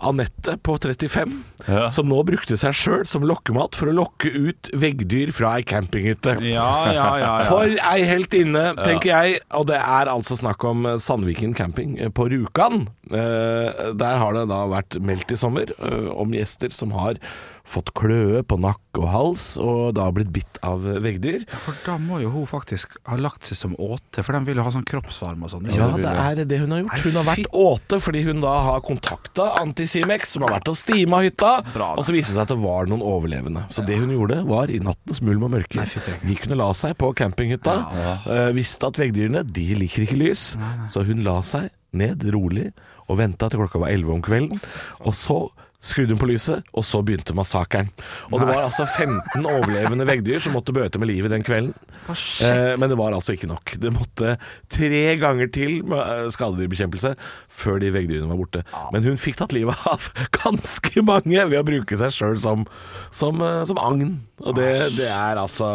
[SPEAKER 6] Anette på 35,
[SPEAKER 3] Ja.
[SPEAKER 6] som nå brukte seg sjøl som lokkemat for å lokke ut veggdyr fra ei campinghytte.
[SPEAKER 5] Ja, ja, ja. ja.
[SPEAKER 6] For ei heltinne, tenker jeg. Og det er altså snakk om eh, Sandviken camping eh, på Rjukan. Eh, Der har det da vært meldt i sommer eh, om gjester som har fått kløe på nakk og hals, og da blitt bitt av eh, veggdyr.
[SPEAKER 5] For da må jo hun faktisk ha lagt seg som åte, for den vil jo ha sånn kroppsvarme og sånn.
[SPEAKER 6] Ja,
[SPEAKER 5] ikke sant?
[SPEAKER 6] det er det hun har gjort. Hun har vært åte fordi hun da har kontakta Antisimex, som har vært og stima hytta. Og så viste det seg at det var noen overlevende. Så det hun gjorde, var i nattens mulm og mørke. De kunne la seg på campinghytta. eh, visste at veggdyrene, de liker ikke lys. Så hun la seg ned rolig og venta til klokka var elleve om kvelden. Og så skrudde hun på lyset, og så begynte massakren. Og det var altså 15 overlevende veggdyr som måtte bøte med livet den kvelden. Eh, men det var altså ikke nok. Det måtte tre ganger til med eh, skadedyrbekjempelse før de veggdyrene var borte. Men hun fikk tatt livet av ganske mange ved å bruke seg sjøl som, som, eh, som agn. Og det, det er altså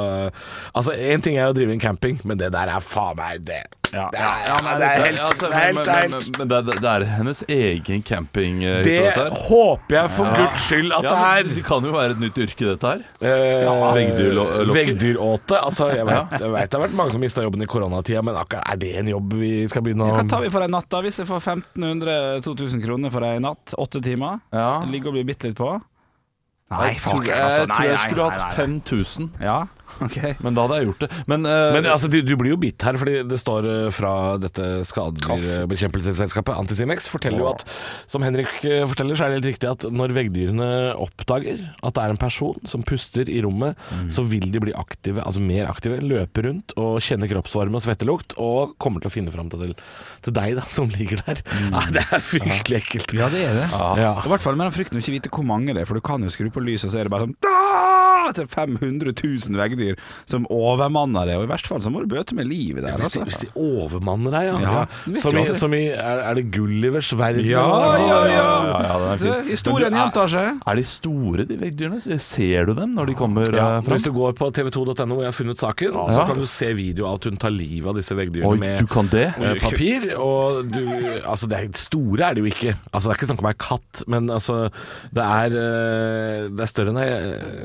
[SPEAKER 6] Altså, én ting er å drive en camping, men det der er faen meg det.
[SPEAKER 5] Ja.
[SPEAKER 6] Det er,
[SPEAKER 5] Ja, men
[SPEAKER 6] det er
[SPEAKER 5] det-
[SPEAKER 6] helt,
[SPEAKER 5] altså,
[SPEAKER 6] det er helt,
[SPEAKER 5] men-
[SPEAKER 6] det er
[SPEAKER 5] men-
[SPEAKER 6] helt
[SPEAKER 3] Men det, er- det er hennes egen campinghytte,
[SPEAKER 6] Det
[SPEAKER 3] dette her.
[SPEAKER 6] håper jeg for guds skyld at
[SPEAKER 3] Ja, men
[SPEAKER 6] det er.
[SPEAKER 3] det kan jo være et nytt yrke, dette her.
[SPEAKER 6] Eh,
[SPEAKER 3] veggdyrlokker.
[SPEAKER 6] Veggdyråte. Altså, jeg vet, jeg vet det har vært mange som mista jobben i koronatida, men akkurat, er det en jobb vi skal begynne å
[SPEAKER 5] Hva tar vi for en natt, da? Hvis jeg får 1500-2000 kroner for en natt, åtte timer,
[SPEAKER 3] Ja.
[SPEAKER 5] ligger og blir bitt litt på Nei, fuck,
[SPEAKER 3] jeg,
[SPEAKER 5] altså. Nei,
[SPEAKER 3] tror jeg
[SPEAKER 5] nei,
[SPEAKER 3] skulle
[SPEAKER 5] nei, nei.
[SPEAKER 3] hatt 5000,
[SPEAKER 5] Ja, ok.
[SPEAKER 3] men da hadde jeg gjort det. Men, eh,
[SPEAKER 6] Men altså, du, du blir jo bitt her, fordi det står eh, fra dette skadedyrbekjempelsesselskapet Antisimex. Forteller jo at, som Henrik eh, forteller, så er det helt riktig at når veggdyrene oppdager at det er en person som puster i rommet,
[SPEAKER 5] Mm.
[SPEAKER 6] så vil de bli aktive, altså mer aktive, løpe rundt og kjenne kroppsvarme og svettelukt, og kommer til å finne fram til, til deg, da, som ligger der. Ja, det er fryktelig ekkelt.
[SPEAKER 5] Mm. Ja, det er det.
[SPEAKER 6] Ja.
[SPEAKER 3] Ah.
[SPEAKER 5] I hvert fall med den frykten å ikke vite hvor mange det er, for du kan jo skru på lyset, og så er det bare sånn «Dah!» til 500 000 veggdyr som overmanner det, og i verste fall så må du bøte med livet der.
[SPEAKER 6] Hvis de,
[SPEAKER 5] Altså.
[SPEAKER 6] hvis de overmanner deg, ja.
[SPEAKER 5] Ja,
[SPEAKER 6] ja.
[SPEAKER 5] det virker
[SPEAKER 6] Som, i,
[SPEAKER 5] alltid.
[SPEAKER 6] som i Er, er det Gullivers verden?
[SPEAKER 5] Ja,
[SPEAKER 6] eller hva?
[SPEAKER 5] ja, ja.
[SPEAKER 3] ja, ja, den er
[SPEAKER 5] Du,
[SPEAKER 3] fin.
[SPEAKER 5] historien
[SPEAKER 3] Men du,
[SPEAKER 5] gjentar seg.
[SPEAKER 3] Er de store, de veggdyrene? Ser du dem når de kommer
[SPEAKER 6] Ja,
[SPEAKER 3] eh,
[SPEAKER 6] men hvis
[SPEAKER 3] fram?
[SPEAKER 6] du går på tv2.no hvor jeg har funnet saken, så kan du se video av at hun tar livet av disse veggdyrene
[SPEAKER 3] Oi,
[SPEAKER 6] med
[SPEAKER 3] du kan det?
[SPEAKER 6] eh, papir. Og du Altså, det er, store er det jo ikke. Altså, det er ikke snakk om ei katt, men altså Det er, eh, det er større enn ei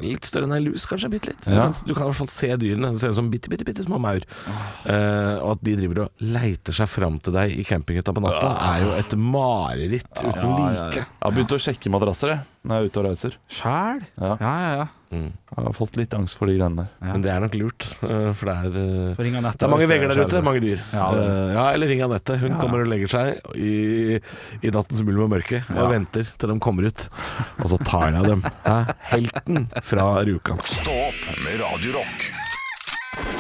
[SPEAKER 6] Litt større enn ei lus, kanskje. Bitte litt.
[SPEAKER 3] Ja.
[SPEAKER 6] Men Du kan i hvert fall se dyrene. Det ser ut som bitte, bitte, bitte små maur. Eh, og at de driver og leiter seg fram til deg i campinghytta på natta,
[SPEAKER 3] Ah.
[SPEAKER 6] er jo et mareritt uten like.
[SPEAKER 3] Jeg har begynt å sjekke madrasser jeg, når jeg er ute og reiser.
[SPEAKER 5] Sjæl?
[SPEAKER 3] Ja.
[SPEAKER 5] Ja, ja, ja.
[SPEAKER 3] Jeg har fått litt angst for de greiene der.
[SPEAKER 6] Men det er nok lurt, eh, for det er eh,
[SPEAKER 5] Ring Anette
[SPEAKER 6] Det er mange
[SPEAKER 5] hvis
[SPEAKER 6] vegger der ute,
[SPEAKER 5] skjærer seg.
[SPEAKER 6] mange dyr. Ja,
[SPEAKER 5] det
[SPEAKER 6] ja Eller ring Anette. Hun kommer og legger seg i, i nattens mulm og mørke og venter til de kommer ut. Og så tar jeg dem. Hæ? Helten fra Rjukan.
[SPEAKER 1] Stå opp med Radio Rock.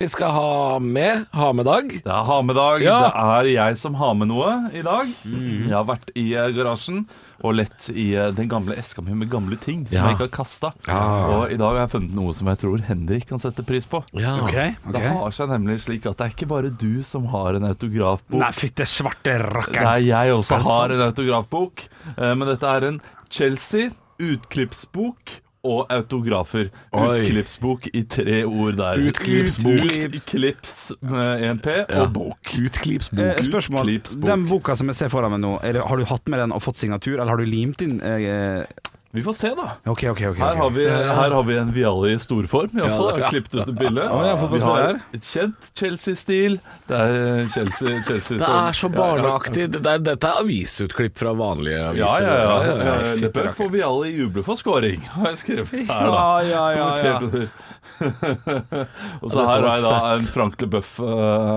[SPEAKER 6] Vi skal ha med ha med dag.
[SPEAKER 3] Det er ha med dag.
[SPEAKER 6] Ja.
[SPEAKER 3] Det er jeg som har med noe i dag. Jeg har vært i eh, garasjen og lett i eh, den gamle eska mi med gamle ting som
[SPEAKER 6] Ja.
[SPEAKER 3] jeg ikke har kasta.
[SPEAKER 6] Ja.
[SPEAKER 3] Og i dag har jeg funnet noe som jeg tror Henrik kan sette pris på.
[SPEAKER 6] Ja.
[SPEAKER 5] Ok,
[SPEAKER 3] Det
[SPEAKER 5] ok.
[SPEAKER 3] har seg nemlig slik at det er ikke bare du som har en autografbok.
[SPEAKER 5] Nei, fytte svarte
[SPEAKER 3] Det
[SPEAKER 5] rakkeren.
[SPEAKER 3] er jeg også
[SPEAKER 5] Er det
[SPEAKER 3] har
[SPEAKER 5] sant?
[SPEAKER 3] en autografbok. eh, Men dette er en Chelsea utklippsbok. Og autografer.
[SPEAKER 6] Oi.
[SPEAKER 3] Utklippsbok i tre ord der.
[SPEAKER 6] Utklippsbok.
[SPEAKER 3] Utklips med en P og bok.
[SPEAKER 5] Eh, spørsmål.
[SPEAKER 3] Utklippsbok.
[SPEAKER 5] Den boka som jeg ser foran meg nå, er det, har du hatt med den og fått signatur, eller har du limt inn eh,
[SPEAKER 3] Vi får se, da.
[SPEAKER 5] Ok, ok, ok.
[SPEAKER 3] Her har vi, her har vi en Vialli i storform. I alle fall,
[SPEAKER 6] Ja.
[SPEAKER 3] ja. Klippet ut et bilde. vi har et kjent Chelsea-stil. Det er eh, Chelsea, Chelsea
[SPEAKER 6] Det
[SPEAKER 3] som-
[SPEAKER 6] er så
[SPEAKER 3] Ja, ja.
[SPEAKER 6] barneaktig. Det er, dette er avisutklipp fra vanlige
[SPEAKER 3] Ja,
[SPEAKER 6] aviser.
[SPEAKER 3] ja, ja.
[SPEAKER 6] Ja, ja, ja.
[SPEAKER 3] Eh, Det bør få Vialli juble for scoring, har jeg skrevet her, da.
[SPEAKER 5] Ja, ja, ja, ja.
[SPEAKER 3] Kommentert under. og så
[SPEAKER 6] Dette
[SPEAKER 3] her
[SPEAKER 6] var
[SPEAKER 3] har jeg da
[SPEAKER 6] søtt.
[SPEAKER 3] en Frank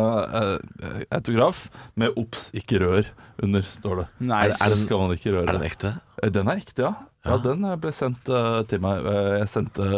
[SPEAKER 3] LeBøff-autograf eh, med 'Ops, ikke rør' under, står det.
[SPEAKER 5] Nei,
[SPEAKER 3] er, er den, skal man ikke røre.
[SPEAKER 6] Er den ekte?
[SPEAKER 3] Eh, Den er ekte, ja. Ja, Den eh, ble sendt eh, til meg. Eh, Jeg sendte,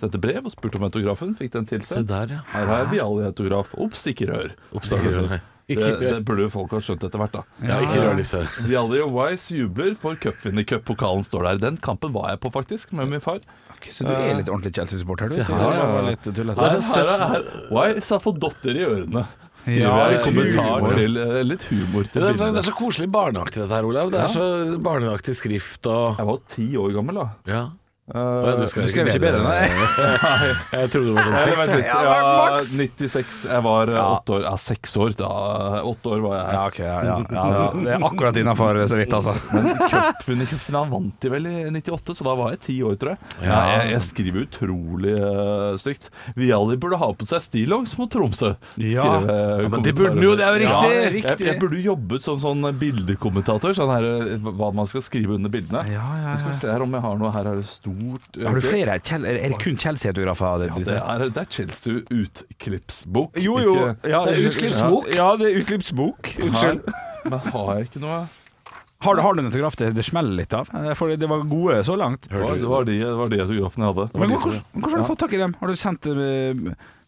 [SPEAKER 3] sendte brev og spurte om autografen, fikk den
[SPEAKER 6] Se
[SPEAKER 3] tilsendt.
[SPEAKER 6] der, ja.
[SPEAKER 3] Her har jeg Vialli-autograf. Ops, ikke rør.
[SPEAKER 6] Ops, ikke rør, nei.
[SPEAKER 3] Det, det burde jo folk ha skjønt etter hvert, da.
[SPEAKER 6] Ja, ikke rør disse.
[SPEAKER 3] Vialli og Wise jubler for cupvinnercup-pokalen står der. Den kampen var jeg på, faktisk, med min far.
[SPEAKER 5] Ok, Så du er litt ordentlig Chelsea-supporter, du?
[SPEAKER 6] Se her,
[SPEAKER 5] Tore.
[SPEAKER 6] ja.
[SPEAKER 5] Det var litt tullete.
[SPEAKER 3] Her, her, her, Wise har fått dotter i ørene. Skriver
[SPEAKER 5] Ja,
[SPEAKER 3] jeg i
[SPEAKER 5] litt
[SPEAKER 3] kommentar
[SPEAKER 5] humor.
[SPEAKER 3] til eh, Litt humor til
[SPEAKER 6] Det er, så, det
[SPEAKER 3] bildet.
[SPEAKER 6] er så koselig barneaktig dette her, Olav. Det er så barneaktig skrift og
[SPEAKER 3] Jeg var ti år gammel, da.
[SPEAKER 6] Ja.
[SPEAKER 3] Eh,
[SPEAKER 6] Ja,
[SPEAKER 5] Du skrev ikke bedre, nei?
[SPEAKER 6] Jeg trodde det var sånn
[SPEAKER 3] Eller
[SPEAKER 6] seks.
[SPEAKER 3] vent
[SPEAKER 6] jeg.
[SPEAKER 3] litt. Ja, 96. Jeg var eh, åtte år. Ja, seks år. Da åtte år var jeg.
[SPEAKER 5] Ja, ok, ja, ja, ja, ja. Det er akkurat innafor, så vidt, altså.
[SPEAKER 3] Cupvinnercupfinalen vant de vel i 98, så da var jeg ti år, tror jeg. Ja. Jeg, jeg skriver utrolig eh, stygt. Viali burde ha på seg stillongs mot Tromsø.
[SPEAKER 5] Ja.
[SPEAKER 3] skriver jeg i
[SPEAKER 6] men det burde den jo, det er jo
[SPEAKER 3] kommentaren.
[SPEAKER 6] riktig.
[SPEAKER 3] Ja, Jeg, jeg burde jobbet som sånn bildekommentator, sånn her eh, hva man skal skrive under bildene.
[SPEAKER 5] Ja, ja,
[SPEAKER 3] Jeg skal
[SPEAKER 5] ja.
[SPEAKER 3] se her om jeg har noe her er det stort eh,
[SPEAKER 5] Har du flere? Kjel, er det kun Chelsea-autografer?
[SPEAKER 3] Ja, det er, det er Chelsea utklippsbok.
[SPEAKER 5] Jo, jo.
[SPEAKER 3] Ikke-
[SPEAKER 5] Ja,
[SPEAKER 3] Det er utklippsbok.
[SPEAKER 5] Ja, det er utklippsbok. Unnskyld.
[SPEAKER 3] Her. Men har jeg ikke noe?
[SPEAKER 5] Har, du- har du en autograf det, det smeller litt av? Eh, For det var gode så langt.
[SPEAKER 3] Det var, det var de, det var de autografene jeg hadde.
[SPEAKER 5] Men hvor- hvordan, hvordan har du fått tak i dem? Har du sendt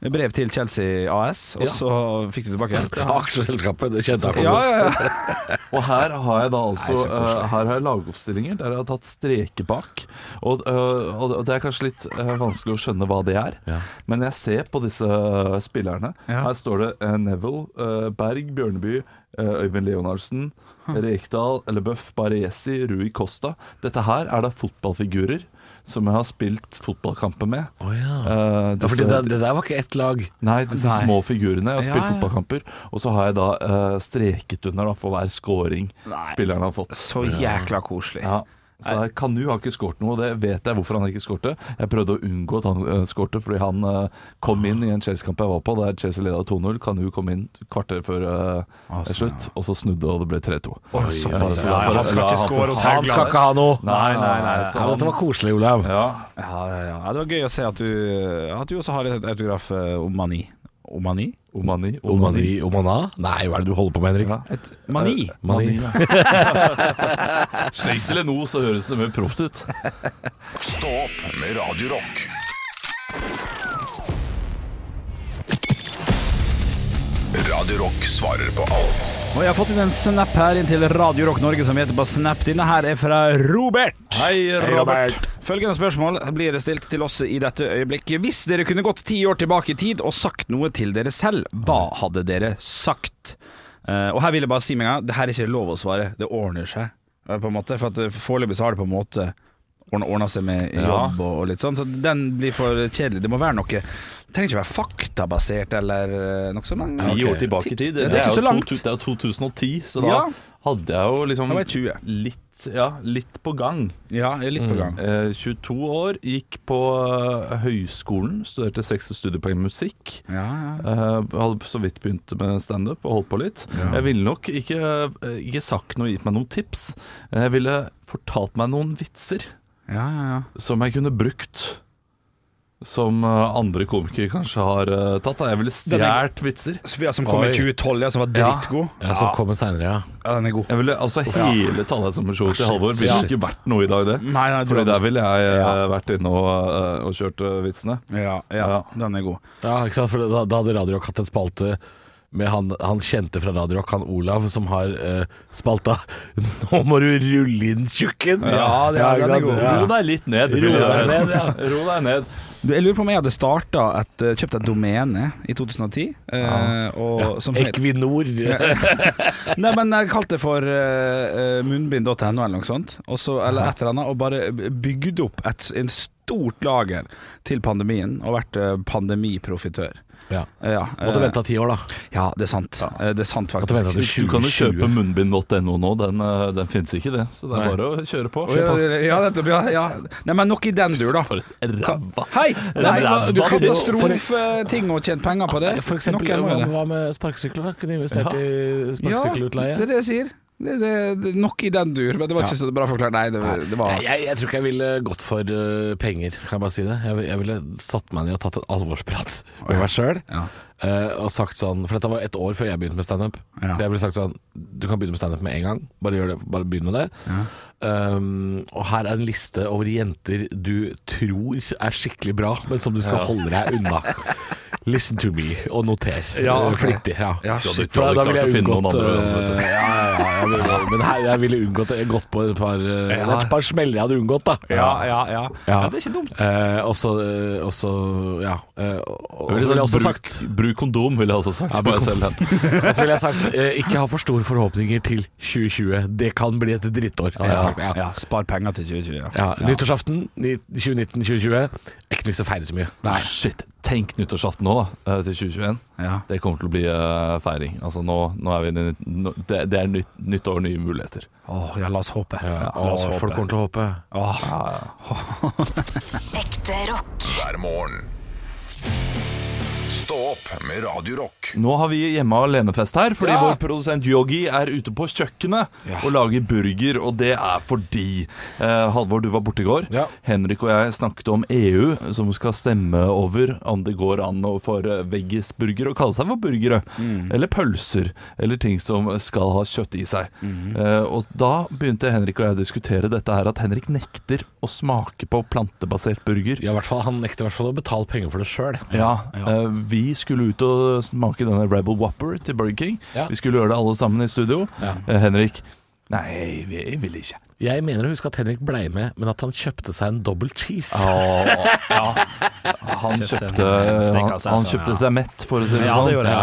[SPEAKER 5] eh, brev til Chelsea AS, og så fikk du tilbake.
[SPEAKER 6] Aksjeselskapet, det kjente jeg
[SPEAKER 5] Ja,
[SPEAKER 6] godt.
[SPEAKER 5] ja, ja.
[SPEAKER 3] Og her har jeg da altså
[SPEAKER 6] Nei, så koselig.
[SPEAKER 3] eh, Her har jeg lagoppstillinger der jeg har tatt streker bak. Og, eh, og det- og det er kanskje litt eh, vanskelig å skjønne hva det er, men jeg ser på disse eh, spillerne.
[SPEAKER 5] Ja.
[SPEAKER 3] Her står det eh, Neville, eh, Berg, Bjørneby, eh, Øyvind Leonardsen, Rekdal, Leboeuf, Baresi, Rui Costa. Dette her er da fotballfigurer som jeg har spilt fotballkamper med. Eh,
[SPEAKER 6] Ja, fordi
[SPEAKER 3] disse-
[SPEAKER 6] det, det der var ikke ett lag.
[SPEAKER 3] Nei, disse små figurene. Jeg har spilt
[SPEAKER 5] Ja, ja.
[SPEAKER 3] fotballkamper, og så har jeg da eh, streket under da, for hver scoring
[SPEAKER 5] Nei.
[SPEAKER 3] spilleren har fått.
[SPEAKER 5] Så jækla koselig.
[SPEAKER 3] Ja. Så her, Kanu har ikke skåret noe, og det vet jeg hvorfor han ikke skårte. Jeg prøvde å unngå at han uh, skårte, fordi han eh, kom inn i en Chelsea-kamp jeg var på, der Chelsea leda 2-0. Kanu kom inn kvarter før eh,
[SPEAKER 5] Å, sånn,
[SPEAKER 3] slutt, og så snudde, og det ble 3-2.
[SPEAKER 5] Oi,
[SPEAKER 3] Eh, så
[SPEAKER 5] ja,
[SPEAKER 3] derfor-
[SPEAKER 5] ja, han skal
[SPEAKER 3] la
[SPEAKER 5] ikke score hos
[SPEAKER 6] Han skal
[SPEAKER 5] Haugland.
[SPEAKER 6] ikke ha noe.
[SPEAKER 3] Nei, nei, nei. så
[SPEAKER 6] Ja, dette var koselig, Olav.
[SPEAKER 3] ja.
[SPEAKER 5] Ja, ja, ja. Ja, Det var gøy å se at du, at du også har et autograf eh, om Mani. Om Mani?
[SPEAKER 3] Omani.
[SPEAKER 6] Omani, Omana? Nei, hva er det du holder på med, Henrik?
[SPEAKER 3] Ja.
[SPEAKER 5] Et eh, mani?
[SPEAKER 6] Mani.
[SPEAKER 3] Slik eller noe, så høres det mer proft ut.
[SPEAKER 1] Stå opp med Radio Rock. Radio Rock svarer på alt.
[SPEAKER 5] Og jeg har fått inn en snap her inn til Radio Rock Norge som heter på Snap. Denne her er fra Robert.
[SPEAKER 3] Hei, Robert.
[SPEAKER 5] Følgende spørsmål blir stilt til oss i dette øyeblikk. Hvis dere kunne gått ti år tilbake i tid og sagt noe til dere selv, hva hadde dere sagt? Eh, og her vil jeg bare si med en gang, det her er ikke lov å svare. Det ordner seg, eh, på en måte. For at eh, foreløpig så har det på en måte ordna, ordna seg med
[SPEAKER 3] Ja.
[SPEAKER 5] jobb og, og litt sånn. Så den blir for kjedelig. Det må være noe Det trenger ikke være faktabasert eller eh, noe sånt. men-
[SPEAKER 3] Ti
[SPEAKER 5] Ok.
[SPEAKER 3] år tilbake i tid.
[SPEAKER 5] Det
[SPEAKER 3] jo
[SPEAKER 5] er ikke så
[SPEAKER 3] to-
[SPEAKER 5] langt.
[SPEAKER 3] Det er jo 2010, så da
[SPEAKER 5] Ja.
[SPEAKER 3] hadde jeg jo liksom
[SPEAKER 5] Da var jeg 20.
[SPEAKER 3] litt, ja, litt på gang.
[SPEAKER 5] Ja, jeg er litt på gang.
[SPEAKER 3] Eh, 22 år, gikk på eh, høyskolen, studerte 60 studiepoeng musikk.
[SPEAKER 5] Ja, ja.
[SPEAKER 3] Eh, hadde så vidt begynt med standup og holdt på litt. Jeg ville nok ikke, eh, ikke sagt noe, gitt meg noen tips. Eh, Jeg ville fortalt meg noen vitser
[SPEAKER 5] ja, ja, ja.
[SPEAKER 3] som jeg kunne brukt. Som eh, andre komikere kanskje har eh, tatt. Da. Jeg ville
[SPEAKER 5] Den er-
[SPEAKER 3] stjålet vitser.
[SPEAKER 5] Sofia som kom
[SPEAKER 6] Oi.
[SPEAKER 5] i 2012, ja, som var
[SPEAKER 3] Ja.
[SPEAKER 5] drittgod.
[SPEAKER 6] Ja, som kommer seinere, ja.
[SPEAKER 5] Ja, den er god.
[SPEAKER 3] Jeg ville, altså Hele Tallheimsommershowet til Halvor ville
[SPEAKER 6] Ja.
[SPEAKER 3] ikke vært noe i dag, det.
[SPEAKER 5] Nei, nei, du
[SPEAKER 3] Fordi der
[SPEAKER 5] hadde-
[SPEAKER 3] ville jeg eh,
[SPEAKER 5] Ja.
[SPEAKER 3] vært inne og, eh, og kjørt eh, vitsene.
[SPEAKER 5] Ja, ja,
[SPEAKER 3] Ja.
[SPEAKER 5] den er god.
[SPEAKER 6] Ja, ikke sant? For da, da hadde Radio Rock hatt en spalte med han, han kjente fra Radio Rock, han Olav, som har eh, spalta 'Nå må du rulle inn tjukken'.
[SPEAKER 5] Ja, det er-
[SPEAKER 6] ikke
[SPEAKER 5] den er
[SPEAKER 6] sant?
[SPEAKER 5] god.
[SPEAKER 6] Ja.
[SPEAKER 3] Ro deg litt ned. Ro
[SPEAKER 6] deg ned, ja.
[SPEAKER 3] Ro deg ned.
[SPEAKER 5] Du, jeg lurer på om jeg hadde starta et eh, Kjøpt et domene i 2010, eh, og, som het
[SPEAKER 6] Equinor.
[SPEAKER 5] Nei, men jeg kalte det for eh, eh, munnbind.no eller noe sånt, og så, eller et eller annet, og bare bygde opp et en stort lager til pandemien, og vært eh, pandemiprofitør.
[SPEAKER 6] Ja.
[SPEAKER 5] Eh, ja, eh,
[SPEAKER 6] Måtte vente ti år, da.
[SPEAKER 5] Ja, det er sant. Eh, Det er sant,
[SPEAKER 6] Måtte vente
[SPEAKER 5] faktisk.
[SPEAKER 6] til
[SPEAKER 3] Du kan jo
[SPEAKER 6] 2020.
[SPEAKER 3] kjøpe munnbind.no nå. Den, eh, den fins ikke, det. Så det er bare å kjøre på.
[SPEAKER 5] Å, ja, ja, nettopp, ja, ja. Nei, men nok i den dur, da.
[SPEAKER 3] For et ræva
[SPEAKER 5] Hei! Nei,
[SPEAKER 3] Ræva
[SPEAKER 5] du
[SPEAKER 3] til-
[SPEAKER 5] katastrofeting og tjent penger på det.
[SPEAKER 6] For eksempel,
[SPEAKER 5] Nok en må gjøre det.
[SPEAKER 6] hva med sparkesykler? da? Kunne investert i
[SPEAKER 5] Ja, det
[SPEAKER 6] sparkesykkelutleie.
[SPEAKER 5] er det jeg sier. Det, det, det, nok i den dur, men det var ikke så bra forklart. Nei, det, det var
[SPEAKER 6] Nei, jeg, jeg tror ikke jeg ville gått for eh, penger, kan jeg bare si det. Jeg, jeg ville satt meg ned og tatt en alvorsprat med meg sjøl.
[SPEAKER 5] Ja.
[SPEAKER 6] og sagt sånn For dette var et år før jeg begynte med standup.
[SPEAKER 5] Ja.
[SPEAKER 6] Så jeg ville sagt sånn Du kan begynne med standup med en gang. Bare gjør det, bare begynn med det. Um, og her er en liste over jenter du tror er skikkelig bra, men som du skal holde deg unna. Listen to me, og noter.
[SPEAKER 5] Ja, ok.
[SPEAKER 6] Flittig. Ja.
[SPEAKER 5] Ja,
[SPEAKER 3] Ah, shit.
[SPEAKER 6] For da, da ville
[SPEAKER 3] Klart å
[SPEAKER 6] jeg
[SPEAKER 3] finne noen
[SPEAKER 6] unngått
[SPEAKER 3] andre,
[SPEAKER 6] eh,
[SPEAKER 3] altså, vet du.
[SPEAKER 6] ja, ja, ja, jeg ville, Men her, jeg ville unngått det. Jeg gått på et par, eh, det er et par smeller jeg hadde unngått, da.
[SPEAKER 5] ja, ja.
[SPEAKER 6] eh, Ja.
[SPEAKER 5] det er ikke dumt.
[SPEAKER 6] Eh, og så eh, og så- ja. Eh, og- og
[SPEAKER 3] Jeg
[SPEAKER 6] så ville
[SPEAKER 3] ville
[SPEAKER 6] jeg også
[SPEAKER 3] sagt,
[SPEAKER 6] sagt
[SPEAKER 3] sånn bruk, bruk kondom, ville jeg også sagt.
[SPEAKER 6] Ja,
[SPEAKER 3] på
[SPEAKER 6] bruk
[SPEAKER 3] meg selv.
[SPEAKER 6] Og så ville jeg sagt eh, ikke ha for store forhåpninger til 2020. Det kan bli et drittår. hadde jeg sagt. Ja.
[SPEAKER 5] Ja, spar penger til 2020. Ja.
[SPEAKER 6] Ja, Nyttårsaften 2019-2020 er ikke noe å feire så mye. Nei.
[SPEAKER 3] Shit, tenk nyttårsaften nå, da, eh, til 2021.
[SPEAKER 5] Ja.
[SPEAKER 3] Det kommer til å bli eh, feiring. Altså, nå, nå er vi inne i- nå, det, det er nytt, nytt år, nye muligheter.
[SPEAKER 5] Åh, ja, la oss håpe.
[SPEAKER 6] Ja,
[SPEAKER 5] la oss
[SPEAKER 6] og
[SPEAKER 5] håpe.
[SPEAKER 6] folk kommer til å håpe.
[SPEAKER 5] Åh.
[SPEAKER 2] Ekte rock.
[SPEAKER 1] hver morgen. Stå opp opp med Radio Rock.
[SPEAKER 3] Nå har vi hjemme alenefest her, fordi
[SPEAKER 8] Ja.
[SPEAKER 3] vår produsent Yogi er ute på kjøkkenet og lager burger, og det er fordi eh, Halvor, du var borte i går.
[SPEAKER 8] Ja.
[SPEAKER 3] Henrik og jeg snakket om EU, som skal stemme over om det går an å få eh, veggisburger og kalle seg for burgere.
[SPEAKER 8] Mm.
[SPEAKER 3] Eller pølser, eller ting som skal ha kjøtt i seg.
[SPEAKER 8] Mm.
[SPEAKER 3] Eh, og da begynte Henrik og jeg å diskutere dette her, at Henrik nekter å smake på plantebasert burger.
[SPEAKER 8] Ja, i hvert fall, Han nekter i hvert fall å betale penger for det sjøl.
[SPEAKER 3] Ja, eh, vi skulle ut og smake denne Rebel Whopper til Burger King.
[SPEAKER 8] Ja.
[SPEAKER 3] Vi skulle gjøre det alle sammen i studio.
[SPEAKER 8] Ja.
[SPEAKER 3] Eh, Henrik Nei, vi jeg vil ikke.
[SPEAKER 8] Jeg mener å huske at Henrik blei med, men at han kjøpte seg en double cheese.
[SPEAKER 6] Ah.
[SPEAKER 3] Han
[SPEAKER 7] Kjøpte-
[SPEAKER 3] kjøpte, han,
[SPEAKER 7] Steakhouse,
[SPEAKER 3] han
[SPEAKER 7] ja.
[SPEAKER 3] kjøpte seg mett, for å si det
[SPEAKER 7] Ja,
[SPEAKER 3] sånn.
[SPEAKER 7] det gjorde jeg, ja.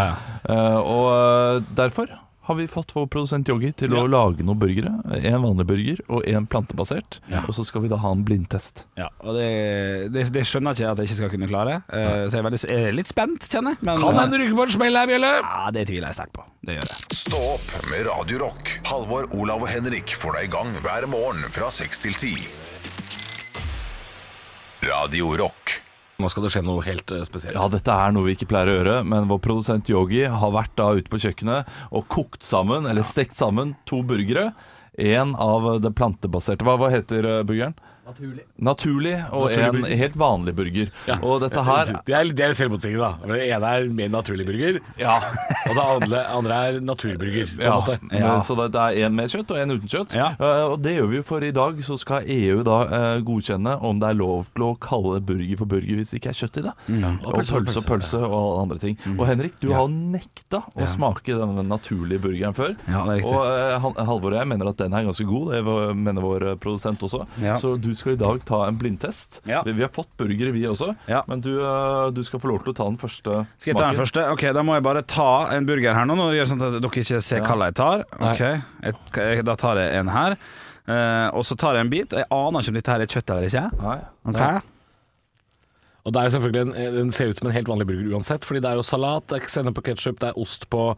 [SPEAKER 3] Eh, og eh, derfor har vi fått vår produsent Yogi til å lage noen burgere. En vanlig burger og en plantebasert. Og så skal vi da ha en blindtest.
[SPEAKER 5] Ja, og det, det, det skjønner jeg ikke at jeg ikke skal kunne klare. Eh, så jeg er, veldig, jeg er litt spent, kjenner jeg. Men, eh,
[SPEAKER 8] Kan han ryke på en smell her, Bjelle?
[SPEAKER 5] Ja, det tviler jeg sterkt på. Det gjør jeg.
[SPEAKER 1] Stå opp med Radio Rock. Halvor, Olav og Henrik får deg i gang hver morgen fra 6 til 10. Radio Rock.
[SPEAKER 6] Nå skal det skje noe helt eh, spesielt.
[SPEAKER 3] Ja, dette er noe vi ikke pleier å gjøre, men vår produsent Yogi har vært da ute på kjøkkenet og kokt sammen, eller stekt sammen, to burgere. En av det plantebaserte Hva, hva heter eh, burgeren? Naturlig. Naturlig, og en helt vanlig burger. Og dette her
[SPEAKER 6] Det er, det er selvmotsigende, da. For Det ene er mer naturlig burger,
[SPEAKER 3] Ja.
[SPEAKER 6] og det andre, andre er naturburger. På en
[SPEAKER 3] Ja,
[SPEAKER 6] måte.
[SPEAKER 3] men Eh, Så det, det er én med kjøtt og én uten kjøtt.
[SPEAKER 5] Ja.
[SPEAKER 3] Eh, og det gjør vi jo, for i dag så skal EU da eh, godkjenne om det er lov til å kalle burger for burger hvis det ikke er kjøtt i det.
[SPEAKER 5] Mm.
[SPEAKER 3] Og pølse og pølse, og alle andre ting. Og Henrik, du har nekta å smake denne naturlige burgeren før.
[SPEAKER 5] Ja, det er riktig.
[SPEAKER 3] og eh, Han- Halvor og jeg mener at den er ganske god, det var- mener vår eh, produsent også.
[SPEAKER 5] Ja.
[SPEAKER 3] Så du skal i dag ta en blindtest.
[SPEAKER 5] Ja.
[SPEAKER 3] Vi, vi har fått burgere, vi også,
[SPEAKER 5] Ja.
[SPEAKER 3] men du, eh, du skal få lov til å ta den første
[SPEAKER 5] Skal jeg ta den første? Ok, Da må jeg bare ta en burger her nå. Nå gjør jeg sånn at dere ikke ser hva jeg tar. Ok, jeg, Da tar jeg en her. Eh, og så tar jeg en bit. Jeg aner ikke om dette her er kjøtt eller ikke.
[SPEAKER 3] Nei.
[SPEAKER 5] Ok.
[SPEAKER 6] Og det er jo selvfølgelig en, eh, den ser ut som en helt vanlig burger uansett, fordi det er jo salat, det er sennep på ketsjup, det er ost på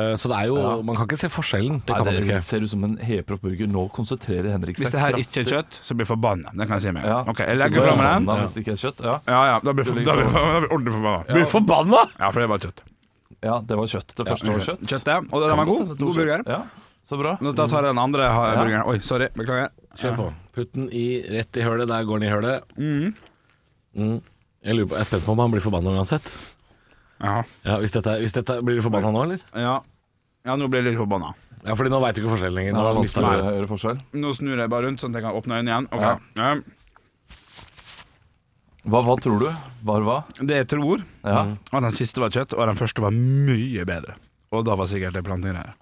[SPEAKER 6] eh, Så det er jo Man kan ikke se forskjellen. Det kan
[SPEAKER 3] Nei,
[SPEAKER 6] man
[SPEAKER 3] det
[SPEAKER 6] ikke.
[SPEAKER 3] ser ut som en heproff burger. Nå konsentrerer Henrik seg
[SPEAKER 5] Hvis det her
[SPEAKER 3] kraftig.
[SPEAKER 5] ikke er kjøtt, så blir jeg forbanna. Det kan jeg si med en
[SPEAKER 3] Ja.
[SPEAKER 5] gang. Ok, jeg legger fra meg den.
[SPEAKER 3] Ja. Hvis det ikke er kjøtt. Ja.
[SPEAKER 5] Ja, ja, da blir jeg for- da blir jeg for- da blir jeg ordentlig forbanna.
[SPEAKER 8] Blir du forbanna?
[SPEAKER 5] Ja, for det var kjøtt.
[SPEAKER 3] ja, det var kjøtt. Det første var kjøtt.
[SPEAKER 5] Kjøtt, ja. Og den var god. God burger.
[SPEAKER 3] Ja, så bra.
[SPEAKER 5] Nå, Da tar jeg den andre ha- burgeren. Oi, sorry. Beklager.
[SPEAKER 6] Kjør på. Putt den i, rett i hølet. Der går den i hølet. Mm. Jeg, lurer på, jeg er spent på om han blir forbanna uansett.
[SPEAKER 5] Ja.
[SPEAKER 6] Ja, hvis dette, hvis dette, blir du forbanna nå, eller?
[SPEAKER 5] Ja. ja, nå blir jeg litt forbanna.
[SPEAKER 6] Ja, fordi nå veit du ikke forskjellen lenger.
[SPEAKER 3] Det
[SPEAKER 6] Nå
[SPEAKER 3] var
[SPEAKER 6] har du mistet det.
[SPEAKER 3] vanskelig å gjøre eh, forskjell.
[SPEAKER 5] Nå snur jeg bare rundt, sånn at jeg kan åpne øynene igjen. Ok. Ja.
[SPEAKER 3] Hva, hva tror du? Var hva?
[SPEAKER 5] Det jeg tror,
[SPEAKER 3] Ja.
[SPEAKER 6] Mm.
[SPEAKER 5] at den siste var kjøtt, og den første var mye bedre. Og da var sikkert det plantegreier.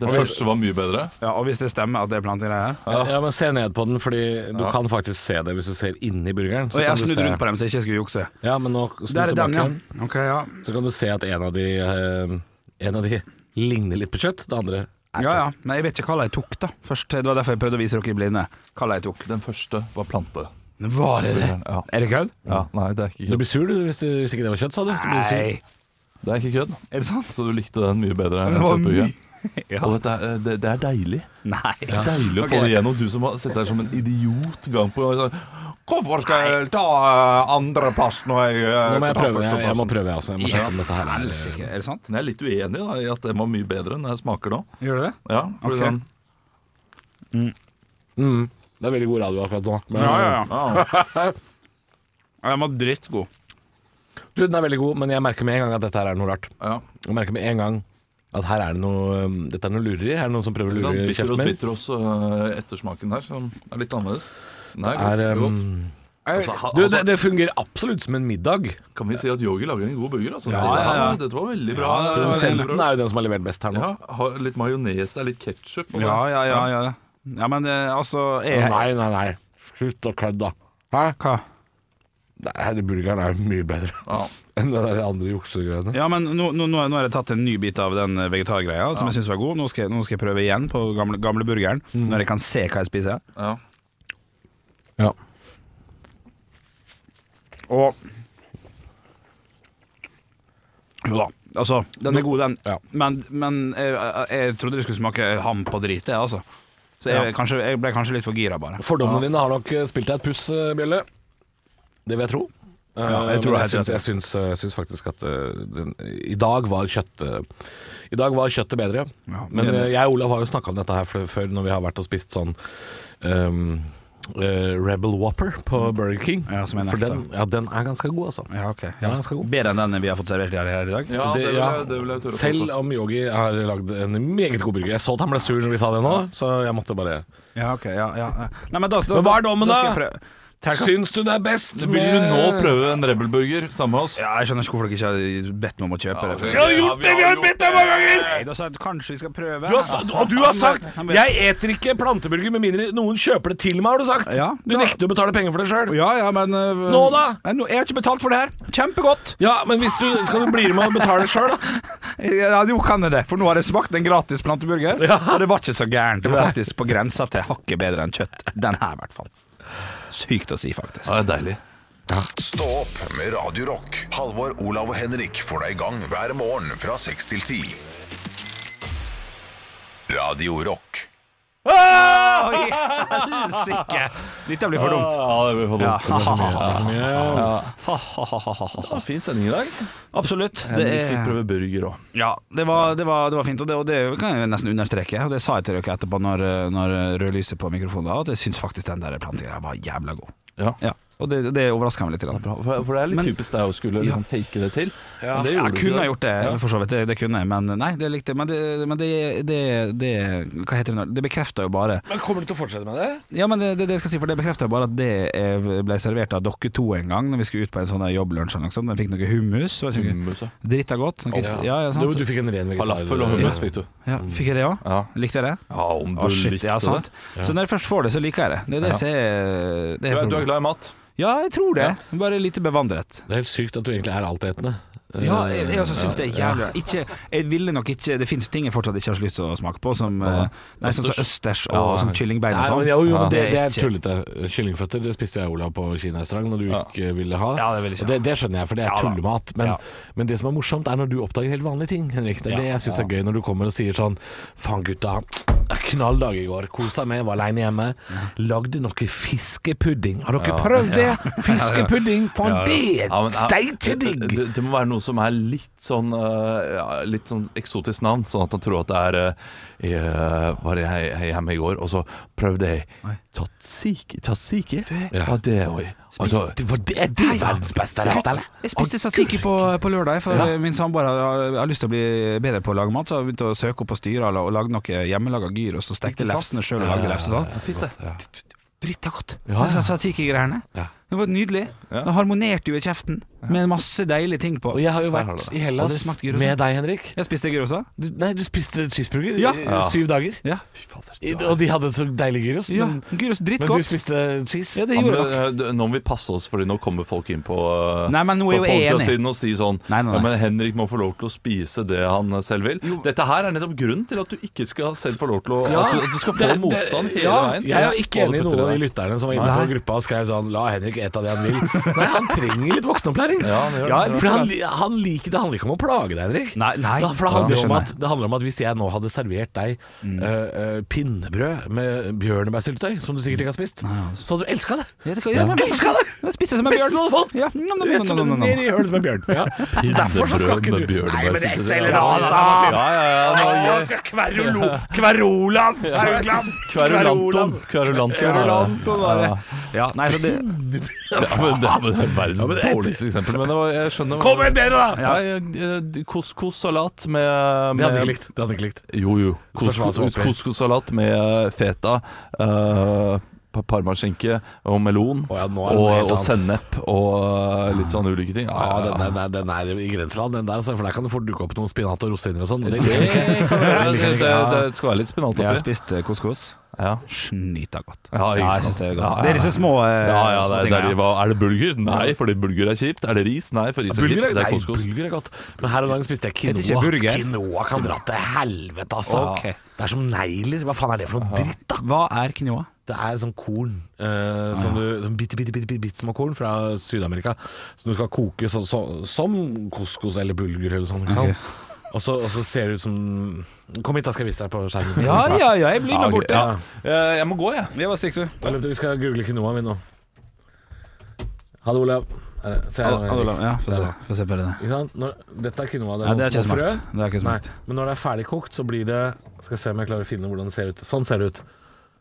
[SPEAKER 3] Det første var mye bedre.
[SPEAKER 5] Ja, og hvis det stemmer at det er plantegreier
[SPEAKER 6] Ja. men Se ned på den, Fordi du kan faktisk se det hvis du ser inni burgeren.
[SPEAKER 5] Og jeg
[SPEAKER 6] kan du
[SPEAKER 5] snudde
[SPEAKER 6] se-
[SPEAKER 5] rundt på dem så jeg ikke skulle jukse.
[SPEAKER 6] Ja, men nå snu
[SPEAKER 5] Der er
[SPEAKER 6] tilbake
[SPEAKER 5] den, ja.
[SPEAKER 6] igjen.
[SPEAKER 5] Ok, ja.
[SPEAKER 6] Så kan du se at en av de, eh, en av de ligner litt på kjøtt, det andre er
[SPEAKER 5] Ja, ja. Men jeg vet ikke hva jeg tok, da. Først, Det var derfor jeg prøvde å vise dere i blinde hva jeg tok.
[SPEAKER 3] Den første var plante.
[SPEAKER 5] Var det det?
[SPEAKER 3] Ja.
[SPEAKER 5] Er det kødd?
[SPEAKER 3] ja. Nei, det er ikke
[SPEAKER 6] Du
[SPEAKER 3] kødd.
[SPEAKER 6] blir sur du, hvis, du, hvis ikke det var kjøtt, sa du? du blir sur.
[SPEAKER 5] Nei.
[SPEAKER 3] Det er ikke kødd.
[SPEAKER 5] Er det sant?
[SPEAKER 3] Så du likte den mye bedre enn
[SPEAKER 5] Den var
[SPEAKER 3] kjøttburgeren?
[SPEAKER 5] Ja.
[SPEAKER 3] Og dette, er- det, det er deilig.
[SPEAKER 5] Nei.
[SPEAKER 3] Deilig å
[SPEAKER 5] Ok.
[SPEAKER 3] få det igjennom. Du som har sittet her som en idiot gang på gang. Hvorfor skal jeg ta andreplass når jeg eh,
[SPEAKER 6] Nå må jeg prøve, jeg, jeg må prøve jeg også. Jeg må sjekke om dette her er
[SPEAKER 5] Helsike, er det sant?
[SPEAKER 3] Men jeg er litt uenig da, i at den var mye bedre enn jeg smaker nå.
[SPEAKER 5] Gjør det det?
[SPEAKER 3] Ja, for
[SPEAKER 5] Ok.
[SPEAKER 3] sånn,
[SPEAKER 6] Det er veldig god radio akkurat nå. Men,
[SPEAKER 5] Ja, ja, ja. Ja, Den var drittgod.
[SPEAKER 6] Du, den er veldig god, men jeg merker med en gang at dette her er noe rart.
[SPEAKER 3] ja.
[SPEAKER 6] Jeg merker med en gang at her er det noe um, Dette er noe lureri. Her er det noen som prøver å
[SPEAKER 3] Litt
[SPEAKER 6] lure
[SPEAKER 3] bitter
[SPEAKER 6] kjeften
[SPEAKER 3] og
[SPEAKER 6] min.
[SPEAKER 3] bitter også øh, ettersmaken her, som er litt annerledes. Nei, godt,
[SPEAKER 6] Er,
[SPEAKER 3] det er
[SPEAKER 6] um,
[SPEAKER 3] godt. Altså, ha-
[SPEAKER 6] du,
[SPEAKER 3] altså,
[SPEAKER 6] det, det fungerer absolutt som en middag.
[SPEAKER 3] kan vi si at Yogi lager en god burger? Altså?
[SPEAKER 5] ja, ja.
[SPEAKER 3] Dette var- Dette var veldig bra.
[SPEAKER 6] Produsenten er jo den som har levert best her nå.
[SPEAKER 3] Ja, ha litt majones, det er litt ketsjup.
[SPEAKER 5] Ja, ja, ja. ja. ja men eh, altså jeg,
[SPEAKER 6] Nei, nei, nei. Slutt å kødde, da. Hæ?
[SPEAKER 5] Hva?
[SPEAKER 6] Nei, burgeren er jo mye bedre enn den der andre juksegreiene.
[SPEAKER 5] Ja, men nå, nå, nå nå har jeg tatt en ny bit av den eh, vegetargreia som jeg syns var god. Nå skal, jeg- nå skal jeg prøve igjen på gamle, gamle burgeren,
[SPEAKER 6] Mm.
[SPEAKER 5] når jeg kan se hva jeg spiser.
[SPEAKER 3] Ja.
[SPEAKER 6] Ja.
[SPEAKER 5] Og Jo da. Altså, den er god, den.
[SPEAKER 6] Ja.
[SPEAKER 5] Men, men jeg, jeg, jeg trodde det skulle smake ham på drit, jeg, altså. Så jeg, kanskje, jeg ble kanskje litt for gira, bare.
[SPEAKER 6] Fordommene dine har nok eh, spilt deg et puss, eh, Bjelle. Det vil jeg tro. Eh,
[SPEAKER 5] jeg tror
[SPEAKER 6] men
[SPEAKER 5] det er helt
[SPEAKER 6] syns,
[SPEAKER 5] rett.
[SPEAKER 6] jeg, syns, jeg syns faktisk at eh, den, i dag var kjøttet I dag var kjøttet bedre. men eh, jeg og Olav har jo snakka om dette her før, før når vi har vært og spist sånn ehm, eh, Rebel Whopper på Burger King.
[SPEAKER 5] Mm. Ja, som er en
[SPEAKER 6] For
[SPEAKER 5] ekte.
[SPEAKER 6] den, ja, den er ganske god, altså.
[SPEAKER 5] Ja, ok.
[SPEAKER 6] Den er ganske god.
[SPEAKER 5] Bedre enn den vi har fått servert her, her i dag?
[SPEAKER 6] Ja, det, ja. Selv om Yogi har lagd en meget god burger. Jeg så at han ble sur når vi sa det nå, så jeg måtte bare
[SPEAKER 5] Ja, ok, ja, ja. ja. Nei, men, da, da,
[SPEAKER 6] Men hva er dommen
[SPEAKER 5] skal
[SPEAKER 6] da?
[SPEAKER 5] jeg prøve. Terkast-
[SPEAKER 6] Syns du det er best
[SPEAKER 3] Vil du nå prøve en rebelburger sammen med oss?
[SPEAKER 5] Ja, jeg skjønner ikke hvorfor dere ikke har bedt meg om å kjøpe det. før.
[SPEAKER 6] har gjort det! Vi har bedt deg mange ganger!
[SPEAKER 5] Nei, da sa jeg at kanskje vi skal prøve.
[SPEAKER 6] Du har, sa- og du har sagt
[SPEAKER 5] Han vet-
[SPEAKER 6] 'Jeg eter ikke planteburger med mindre noen kjøper det til meg', har du sagt.
[SPEAKER 5] Ja,
[SPEAKER 6] du
[SPEAKER 5] ja.
[SPEAKER 6] nekter å betale penger for det sjøl.
[SPEAKER 5] Ja, ja, men øh,
[SPEAKER 6] Nå da?
[SPEAKER 5] Nei, nå- Jeg har ikke betalt for det her. Kjempegodt.
[SPEAKER 6] Ja, men hvis du skal du bli med og betale sjøl, da.
[SPEAKER 5] Ja, jo, kan jeg det. For nå har jeg smakt en gratis planteburger, og det var ikke så gærent. Det var faktisk på grensa til hakket bedre enn kjøtt. Den her, i hvert fall. Sykt å si, faktisk.
[SPEAKER 3] det er deilig.
[SPEAKER 1] Stå opp med Radio Rock. Halvor, Olav og Henrik får deg i gang hver morgen fra 6 til 10. Radio Rock.
[SPEAKER 6] Ah!
[SPEAKER 5] Oi, helsike! Dette blir for dumt.
[SPEAKER 3] Ja, det blir for dumt.
[SPEAKER 5] Ja.
[SPEAKER 3] Ja, fin sending i dag.
[SPEAKER 5] Absolutt. Det
[SPEAKER 3] Henrik fikk
[SPEAKER 5] er
[SPEAKER 3] prøve burger òg.
[SPEAKER 5] Ja, det var, det var, det var fint, og det, og det kan jeg nesten understreke. Og Det sa jeg til dere etterpå, når, når rødlyset på mikrofonen var, at jeg syns faktisk den der plantegreia var jævla god.
[SPEAKER 3] Ja.
[SPEAKER 5] og det, det overraska meg litt. Grann.
[SPEAKER 3] Bra, For, for det er litt
[SPEAKER 5] Men-
[SPEAKER 3] typisk deg å skulle liksom take det til. Men det
[SPEAKER 5] Jeg
[SPEAKER 3] du
[SPEAKER 5] kunne
[SPEAKER 3] ikke.
[SPEAKER 5] ha gjort det, for så vidt. Det, det kunne jeg, men nei, det likte jeg. Men, det, men det, det, det Hva heter det nå? Det bekrefter jo bare
[SPEAKER 6] Men kommer du til å fortsette med det?
[SPEAKER 5] Ja, men det, det, det skal jeg si, for det bekrefter jo bare at det eh, ble servert av dere to en gang, når vi skulle ut på en sånn der jobblunsj eller noe sånt. Den fikk noe hummus. så jeg synes-
[SPEAKER 3] Hummus, ja.
[SPEAKER 5] Drita godt. Noe, ja, ja, sant?
[SPEAKER 6] Du, du fikk en ren vegetar.
[SPEAKER 3] Falafel og hummus fikk du.
[SPEAKER 5] ja, fikk jeg det òg?
[SPEAKER 3] Ja.
[SPEAKER 5] Likte jeg det?
[SPEAKER 3] Ja, om
[SPEAKER 5] Å, shit, ja, sant. Så når jeg først får det, så liker jeg det. Det er det som er, det
[SPEAKER 3] Du er, du er
[SPEAKER 5] er problemet.
[SPEAKER 3] glad i mat?
[SPEAKER 5] Ja, jeg tror det. Bare lite bevandret.
[SPEAKER 6] Det er helt sykt at du egentlig er altetende.
[SPEAKER 5] Ja, jeg, jeg også syns det er jævlig ikke, Jeg ville nok ikke Det fins ting jeg fortsatt ikke har så lyst til å smake på, som eh, Nei, sånn som østers og, og sånn kyllingbein og
[SPEAKER 6] Nei,
[SPEAKER 5] sånn.
[SPEAKER 6] men, jo, jo, men det,
[SPEAKER 5] Det er
[SPEAKER 6] det er
[SPEAKER 5] ikke-
[SPEAKER 6] tullete. Kyllingføtter det spiste jeg og Olav på kinarestaurant når du ikke ville ha.
[SPEAKER 5] Ja, det ville ikke
[SPEAKER 6] Og
[SPEAKER 5] ha.
[SPEAKER 6] det, det skjønner jeg, for det er
[SPEAKER 5] Ja da.
[SPEAKER 6] tullemat. Men,
[SPEAKER 5] Ja.
[SPEAKER 6] men det som er morsomt, er når du oppdager helt vanlige ting. Henrik Det er det jeg syns er gøy når du kommer og sier sånn Faen, gutta. Knall dag i går. Kosa meg, var aleine hjemme. Lagde noe fiskepudding. Har dere prøvd det? Fiskepudding, faen
[SPEAKER 3] Ja, men,
[SPEAKER 6] det!
[SPEAKER 3] ja,
[SPEAKER 6] Steike
[SPEAKER 3] det-
[SPEAKER 6] digg!
[SPEAKER 3] Det, det må være noe som er litt sånn eh, ja, Litt sånn eksotisk navn, sånn at han tror at det er eh, eh, Var jeg he- hjemme i går, og så prøvde jeg tatsiki. tatsiki? Ja, det Altså, òg.
[SPEAKER 6] Det var- det- Er det verdens beste rett, eller?
[SPEAKER 5] Jeg spiste tzatziki på, på lørdag, for min samboer har, har- har lyst til å bli bedre på å lage mat, så har jeg begynt å søke opp på Styra og lagde noe hjemmelaga gyros og stekte lefsene sjøl og lagde lefse sånn.
[SPEAKER 3] Fint, det.
[SPEAKER 5] Drita godt. Så sa tzatziki-greiene. Det var nydelig. Det harmonerte jo i kjeften, med masse deilige ting på.
[SPEAKER 6] Og jeg har jo
[SPEAKER 3] har du
[SPEAKER 6] vært
[SPEAKER 3] det.
[SPEAKER 6] i
[SPEAKER 5] Har dere
[SPEAKER 6] Hellas
[SPEAKER 5] smakt gyros?
[SPEAKER 6] med deg, Henrik.
[SPEAKER 5] Jeg spiste gyrosa.
[SPEAKER 6] Du, nei, du spiste cheeseburger i
[SPEAKER 5] Ja.
[SPEAKER 6] i syv dager.
[SPEAKER 5] Ja.
[SPEAKER 6] I, og de hadde så deilig gyros.
[SPEAKER 5] Ja,
[SPEAKER 6] Men,
[SPEAKER 5] gyros
[SPEAKER 6] men
[SPEAKER 5] drittgodt.
[SPEAKER 6] du spiste cheese.
[SPEAKER 5] Ja, det
[SPEAKER 3] Ja, men,
[SPEAKER 5] gjorde dere.
[SPEAKER 3] eh, du- nå må vi passe oss, Fordi nå kommer folk inn på eh,
[SPEAKER 5] Nei, men nå er
[SPEAKER 3] på
[SPEAKER 5] jo jeg enig.
[SPEAKER 3] podcastsiden og sier sånn
[SPEAKER 5] Nei, nei, nei.
[SPEAKER 3] Ja, Men Henrik må få lov til å spise det han eh, selv vil. Dette her er nettopp grunnen til at du ikke skal selv få lov til å at, du, at du skal få motstand hele
[SPEAKER 6] ja,
[SPEAKER 3] veien.
[SPEAKER 6] Jeg er ikke
[SPEAKER 3] Hva du
[SPEAKER 6] enig i
[SPEAKER 3] putter
[SPEAKER 6] noen av de
[SPEAKER 3] deg.
[SPEAKER 6] lytterne som var inne på gruppa og skrev sånn La Henrik ete av det han vil. Nei, han trenger litt voksenopplæring.
[SPEAKER 3] Ja, han gjør det.
[SPEAKER 6] for han, li- han liker, det handler ikke om å plage deg, Henrik.
[SPEAKER 5] Nei, nei.
[SPEAKER 6] Da, for det handler,
[SPEAKER 5] Ja, det
[SPEAKER 6] om
[SPEAKER 5] skjønner
[SPEAKER 6] at, det handler om at hvis jeg nå hadde servert deg
[SPEAKER 3] Mm.
[SPEAKER 6] eh, eh, pinnebrød med bjørnebærsyltetøy, som du sikkert ikke har spist,
[SPEAKER 3] altså.
[SPEAKER 6] så hadde du elska det.
[SPEAKER 5] Ja, det kan- ja, men-
[SPEAKER 6] elska det!
[SPEAKER 5] Jeg spiste som en
[SPEAKER 6] Beste
[SPEAKER 5] bjørn.
[SPEAKER 6] du hadde fått!
[SPEAKER 5] Ja. Nom, nom, nom, nom, nom, nom.
[SPEAKER 6] Ned i hølet som en bjørn. Ja. Så Altså, derfor så skal ikke
[SPEAKER 3] Pinnebrød med
[SPEAKER 6] du
[SPEAKER 3] bjørnebær
[SPEAKER 6] Nei, men et
[SPEAKER 3] syltetøy.
[SPEAKER 6] eller annet,
[SPEAKER 3] Ja,
[SPEAKER 6] da!
[SPEAKER 3] ja, ja, nå,
[SPEAKER 6] Å,
[SPEAKER 3] jeg-
[SPEAKER 6] skal Kverolo, Kverolav Haugland!
[SPEAKER 3] Kverulanton. Kverulanton.
[SPEAKER 6] Kverulanton, var det.
[SPEAKER 5] Ja, nei, så det,
[SPEAKER 3] Ja, men det er men det er verdens
[SPEAKER 6] Ja, men det-
[SPEAKER 3] dårligste eksempel. Men det var, jeg skjønner
[SPEAKER 6] Kom med et bedre, da!
[SPEAKER 3] Ja, eh, Couscous-salat med, med
[SPEAKER 6] Det hadde ikke likt. Det hadde ikke likt.
[SPEAKER 3] Jo, jo.
[SPEAKER 6] Spørs hva som er
[SPEAKER 3] Couscous-
[SPEAKER 6] oppi.
[SPEAKER 3] Couscous-salat med feta. eh, pa- Parmaskinke og melon
[SPEAKER 6] Å ja, nå er det noe helt
[SPEAKER 3] og, og
[SPEAKER 6] annet.
[SPEAKER 3] sennep og eh, litt sånn ulike ting.
[SPEAKER 6] Ja,
[SPEAKER 3] Ja, ja,
[SPEAKER 6] den,
[SPEAKER 3] ja.
[SPEAKER 6] den, er- den er i grenseland, den der, altså, for der kan det fort dukke opp noen spinat og rosiner og sånn. Det-
[SPEAKER 3] Det, kan være. det, det, det skal være litt spinat
[SPEAKER 5] jeg har
[SPEAKER 3] oppi.
[SPEAKER 5] spist eh, couscous.
[SPEAKER 3] Ja.
[SPEAKER 5] Snyta godt.
[SPEAKER 3] Ja, ikke
[SPEAKER 5] jeg
[SPEAKER 3] sant.
[SPEAKER 5] synes det er godt.
[SPEAKER 3] Ja, ja,
[SPEAKER 5] Det er disse små, eh,
[SPEAKER 3] Ja, ja, det, er-
[SPEAKER 5] små
[SPEAKER 3] det er,
[SPEAKER 5] tingene, ja.
[SPEAKER 3] de- hva- er det bulgur? Nei, fordi bulgur er kjipt. Er det ris? Nei, for ris er
[SPEAKER 6] Bulgur
[SPEAKER 3] kjipt.
[SPEAKER 6] er,
[SPEAKER 3] Det er
[SPEAKER 6] nei,
[SPEAKER 3] couscous.
[SPEAKER 6] bulgur er godt, men her om dagen spiste jeg
[SPEAKER 5] Heter ikke
[SPEAKER 6] quinoa.
[SPEAKER 5] burger?
[SPEAKER 6] Quinoa kan dra til helvete, altså.
[SPEAKER 5] Ok.
[SPEAKER 6] Det er som negler. Hva faen er det for noe dritt, da?
[SPEAKER 5] Hva er quinoa?
[SPEAKER 6] Det er sånn korn, eh, som
[SPEAKER 5] Ah,
[SPEAKER 6] du, sånn bitte, bitte, bitte, bitte, bitte små korn fra Syd-Amerika, som du skal koke så, så, som couscous eller bulgur eller sånn. Ikke sant? Og, så, og så ser det ut som Kom hit, da skal jeg vise deg på skjermen.
[SPEAKER 5] Ja, ja, ja, jeg blir
[SPEAKER 3] Ja,
[SPEAKER 5] med
[SPEAKER 3] ok,
[SPEAKER 5] bort.
[SPEAKER 3] ja. Eh, Jeg må gå, jeg.
[SPEAKER 5] Det var stikk, du.
[SPEAKER 6] Da løper vi- Vi skal google quinoa min nå. Ha det, Olav. Er det- Se her,
[SPEAKER 5] Ad-
[SPEAKER 6] Henrik.
[SPEAKER 5] Adolam, ja, få se, få se på det.
[SPEAKER 6] Ikke sant? Når, dette er quinoa. Det
[SPEAKER 5] Nei,
[SPEAKER 6] er,
[SPEAKER 5] det
[SPEAKER 6] noen
[SPEAKER 5] er ikke
[SPEAKER 6] små frø.
[SPEAKER 5] smakt. Det er ikke
[SPEAKER 6] Nei,
[SPEAKER 5] smakt.
[SPEAKER 6] men når det er ferdigkokt, så blir det Skal jeg se om jeg klarer å finne hvordan det ser ut. Sånn ser det ut.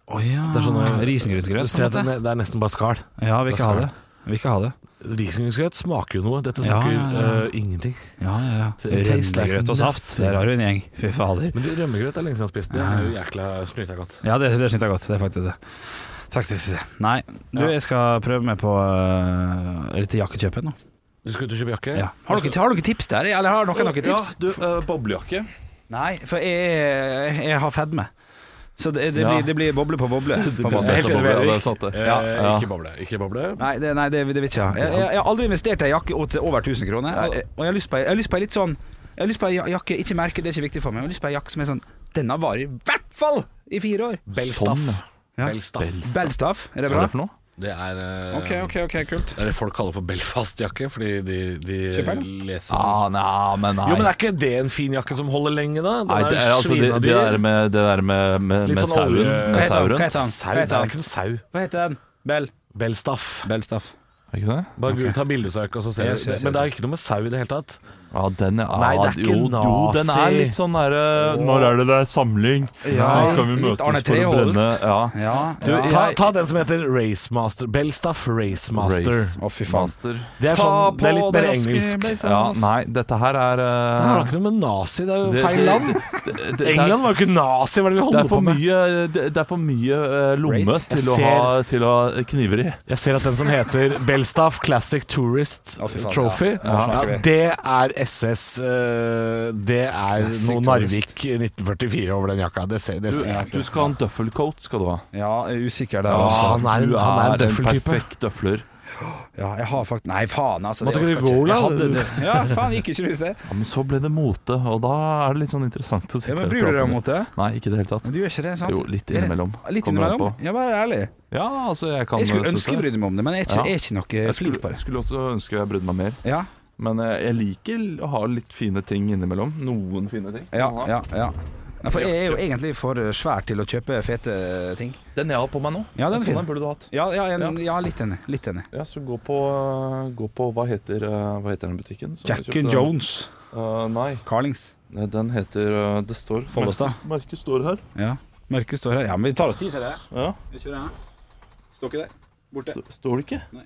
[SPEAKER 5] Å ja.
[SPEAKER 6] Det er sånn, eh, Du
[SPEAKER 5] Ah, Risengrynsgrøt. på
[SPEAKER 6] ser
[SPEAKER 5] en
[SPEAKER 6] at
[SPEAKER 5] måte.
[SPEAKER 6] det, det er nesten bare skall.
[SPEAKER 5] Ja, vi vil ikke ha det. Vi vil ikke ha det.
[SPEAKER 6] Risengrynsgrøt smaker jo noe. Dette
[SPEAKER 5] Ja,
[SPEAKER 6] smaker
[SPEAKER 5] ja, ja.
[SPEAKER 6] eh, ingenting.
[SPEAKER 5] Ja, ja, ja.
[SPEAKER 6] Det tastes like
[SPEAKER 5] Rømmegrøt og saft.
[SPEAKER 6] nothing.
[SPEAKER 5] Der har du en gjeng. Fy fader.
[SPEAKER 6] Men du, rømmegrøt er lenge siden jeg har spist. Det er jo jækla snyta godt.
[SPEAKER 5] Ja, det, det syns jeg godt. Det er faktisk det. Faktisk det. Nei, du, jeg skal prøve meg på øh, litt jakkekjøp nå.
[SPEAKER 6] Du skal ut og kjøpe jakke?
[SPEAKER 5] Ja. Har, dere, har dere tips der, eller har dere noen tips?
[SPEAKER 3] du, eh, boblejakke.
[SPEAKER 5] Nei, for jeg, jeg har fedme. Så det, det, blir, det blir boble på boble. På en måte.
[SPEAKER 3] Helt enig,
[SPEAKER 5] altså.
[SPEAKER 3] det er sant det.
[SPEAKER 6] Eh,
[SPEAKER 5] Ja,
[SPEAKER 3] ja.
[SPEAKER 6] Ikke boble. Ikke boble.
[SPEAKER 5] Nei, det, nei, det, det vil ikke jeg. Jeg, jeg, jeg har aldri investert i en jakke til over 1000 kroner. Og jeg, og jeg har lyst på ei- jeg har lyst på ei litt sånn Jeg har lyst på ei jak- jakke, ikke merke, det er ikke viktig for meg. Jeg har lyst på ei jakke som er sånn Denne varer i hvert fall i fire år.
[SPEAKER 6] Bellstaff.
[SPEAKER 3] Sånn,
[SPEAKER 5] ja.
[SPEAKER 6] Bellstaff.
[SPEAKER 5] Bellstaff, er det
[SPEAKER 3] Hva er
[SPEAKER 5] bra?
[SPEAKER 3] det for noe?
[SPEAKER 6] Det er eh,
[SPEAKER 5] Ok, ok, ok, kult.
[SPEAKER 6] Det er det folk kaller for Belfast-jakke, fordi de, de
[SPEAKER 5] Kjøper den?
[SPEAKER 6] leser
[SPEAKER 3] nei, men Ah, nei.
[SPEAKER 6] Jo, men er ikke det en fin jakke som holder lenge, da? Den
[SPEAKER 3] Nei, det, er, altså, det,
[SPEAKER 6] svinadyr.
[SPEAKER 3] det der med, det der med, med,
[SPEAKER 6] Litt
[SPEAKER 3] med
[SPEAKER 6] sånn
[SPEAKER 3] sauen,
[SPEAKER 6] olje-
[SPEAKER 3] med
[SPEAKER 5] Hva heter han?
[SPEAKER 3] sauren
[SPEAKER 5] Hva heter han?
[SPEAKER 6] Sau?
[SPEAKER 5] Hva
[SPEAKER 6] Det
[SPEAKER 5] heter
[SPEAKER 6] er ikke noe sau.
[SPEAKER 5] han? Hva heter den? Bell.
[SPEAKER 6] Bellstaff.
[SPEAKER 5] Bellstaff.
[SPEAKER 3] Er ikke det?
[SPEAKER 6] Bare okay. ta bildesøk, og så ser
[SPEAKER 5] Yes,
[SPEAKER 6] du.
[SPEAKER 5] yes,
[SPEAKER 6] Men det
[SPEAKER 5] yes.
[SPEAKER 6] er ikke noe med sau i det hele tatt.
[SPEAKER 3] Ja, Ah, den er,
[SPEAKER 6] Nei, det er ikke
[SPEAKER 3] jo, jo, den er
[SPEAKER 6] nazi.
[SPEAKER 3] litt sånn derre Når er det det er samling?
[SPEAKER 5] Ja,
[SPEAKER 3] Nå skal vi
[SPEAKER 5] litt
[SPEAKER 3] møtes for
[SPEAKER 5] Arne
[SPEAKER 3] å
[SPEAKER 5] Treholt.
[SPEAKER 3] brenne Ja.
[SPEAKER 5] Ja.
[SPEAKER 3] Du,
[SPEAKER 5] ja.
[SPEAKER 6] Ta,
[SPEAKER 3] Jeg-
[SPEAKER 6] ta den som heter Racemaster. Bellstaff Racemaster.
[SPEAKER 3] Race.
[SPEAKER 5] Å, fy faen.
[SPEAKER 6] Det, er sånn, det er litt mer engelsk.
[SPEAKER 3] Ja, nei, dette her er
[SPEAKER 6] Det
[SPEAKER 3] eh,
[SPEAKER 6] har ikke noe med nazi, det er jo
[SPEAKER 3] det-
[SPEAKER 6] feil
[SPEAKER 3] det-
[SPEAKER 6] land.
[SPEAKER 3] det- det- det er-
[SPEAKER 6] England var jo ikke nazi, hva er det vi
[SPEAKER 3] Det er
[SPEAKER 6] holder
[SPEAKER 3] for
[SPEAKER 6] på med?
[SPEAKER 3] mye, det, det er for mye eh, lomme
[SPEAKER 5] Race.
[SPEAKER 3] til
[SPEAKER 6] Jeg
[SPEAKER 3] å,
[SPEAKER 6] ser-
[SPEAKER 3] ha, til å ha kniver i.
[SPEAKER 6] Jeg ser at den som heter Bellstaff Classic Tourist
[SPEAKER 5] Å, fy faen,
[SPEAKER 6] Trophy,
[SPEAKER 5] ja. Nå
[SPEAKER 6] ja,
[SPEAKER 5] snakker vi.
[SPEAKER 6] det er SS eh, Det er
[SPEAKER 5] Classic
[SPEAKER 6] noe
[SPEAKER 5] Tourist.
[SPEAKER 6] Narvik 1944 over den jakka. Det ser, det
[SPEAKER 3] Du,
[SPEAKER 6] ser jeg.
[SPEAKER 3] du skal ha en døffelcoat, skal du ha.
[SPEAKER 5] Ja, jeg er usikker der,
[SPEAKER 6] Ja,
[SPEAKER 5] altså.
[SPEAKER 6] han er en-
[SPEAKER 3] du
[SPEAKER 6] han er en døffeltype.
[SPEAKER 3] perfekt døfler.
[SPEAKER 5] Ja, jeg har faktisk Nei, faen, altså.
[SPEAKER 6] Måtte ikke du
[SPEAKER 5] orker
[SPEAKER 6] gå,
[SPEAKER 5] jeg
[SPEAKER 6] Olav?
[SPEAKER 5] hadde det. Ja, faen, gikk ikke du i sted?
[SPEAKER 3] Ja, men så ble det mote, og da er det litt sånn interessant å sitte
[SPEAKER 5] Ja, men
[SPEAKER 3] her og
[SPEAKER 5] bryr du
[SPEAKER 3] prate
[SPEAKER 5] deg
[SPEAKER 3] om
[SPEAKER 5] mot det?
[SPEAKER 3] det. Nei, ikke i det hele tatt.
[SPEAKER 5] Men du gjør ikke det, sant?
[SPEAKER 3] Jo, litt
[SPEAKER 5] Er det-
[SPEAKER 3] innimellom.
[SPEAKER 5] Litt
[SPEAKER 3] Kommer an
[SPEAKER 5] innimellom?
[SPEAKER 3] på.
[SPEAKER 5] Ja, vær ærlig.
[SPEAKER 3] Ja, altså, jeg kan
[SPEAKER 5] Jeg skulle
[SPEAKER 3] synes
[SPEAKER 5] ønske jeg
[SPEAKER 3] det.
[SPEAKER 5] brydde meg om det, men jeg er ikke,
[SPEAKER 3] Ja.
[SPEAKER 5] jeg er ikke noe
[SPEAKER 3] jeg
[SPEAKER 5] flink på
[SPEAKER 3] skulle,
[SPEAKER 5] det.
[SPEAKER 3] skulle også ønske jeg brydde meg mer,
[SPEAKER 5] Ja,
[SPEAKER 3] men eh, jeg liker å ha litt fine ting innimellom. Noen fine ting.
[SPEAKER 5] ja, ja. ja. Nei, for jeg er jo egentlig for eh, svær til å kjøpe fete ting.
[SPEAKER 3] Den jeg har på meg nå,
[SPEAKER 5] Ja, den er fin.
[SPEAKER 3] sånn den burde du hatt.
[SPEAKER 5] Ja, ja, en, ja litt enig. Litt enig.
[SPEAKER 3] Ja, så gå på, gå på hva, heter, eh, hva heter den butikken? som jeg
[SPEAKER 5] Jack
[SPEAKER 3] kjøpte
[SPEAKER 5] and
[SPEAKER 3] den?
[SPEAKER 5] Jones.
[SPEAKER 3] Eh, nei,
[SPEAKER 5] Carlings.
[SPEAKER 3] Nei, den heter eh, Det står
[SPEAKER 5] Follestad.
[SPEAKER 3] Merket- Merket står her.
[SPEAKER 5] Ja. Mørket står her. Ja, men vi tar oss tid til det.
[SPEAKER 3] Ja,
[SPEAKER 5] Vi kjører her. Står ikke der. Borte.
[SPEAKER 3] st- Står det ikke?
[SPEAKER 5] Nei.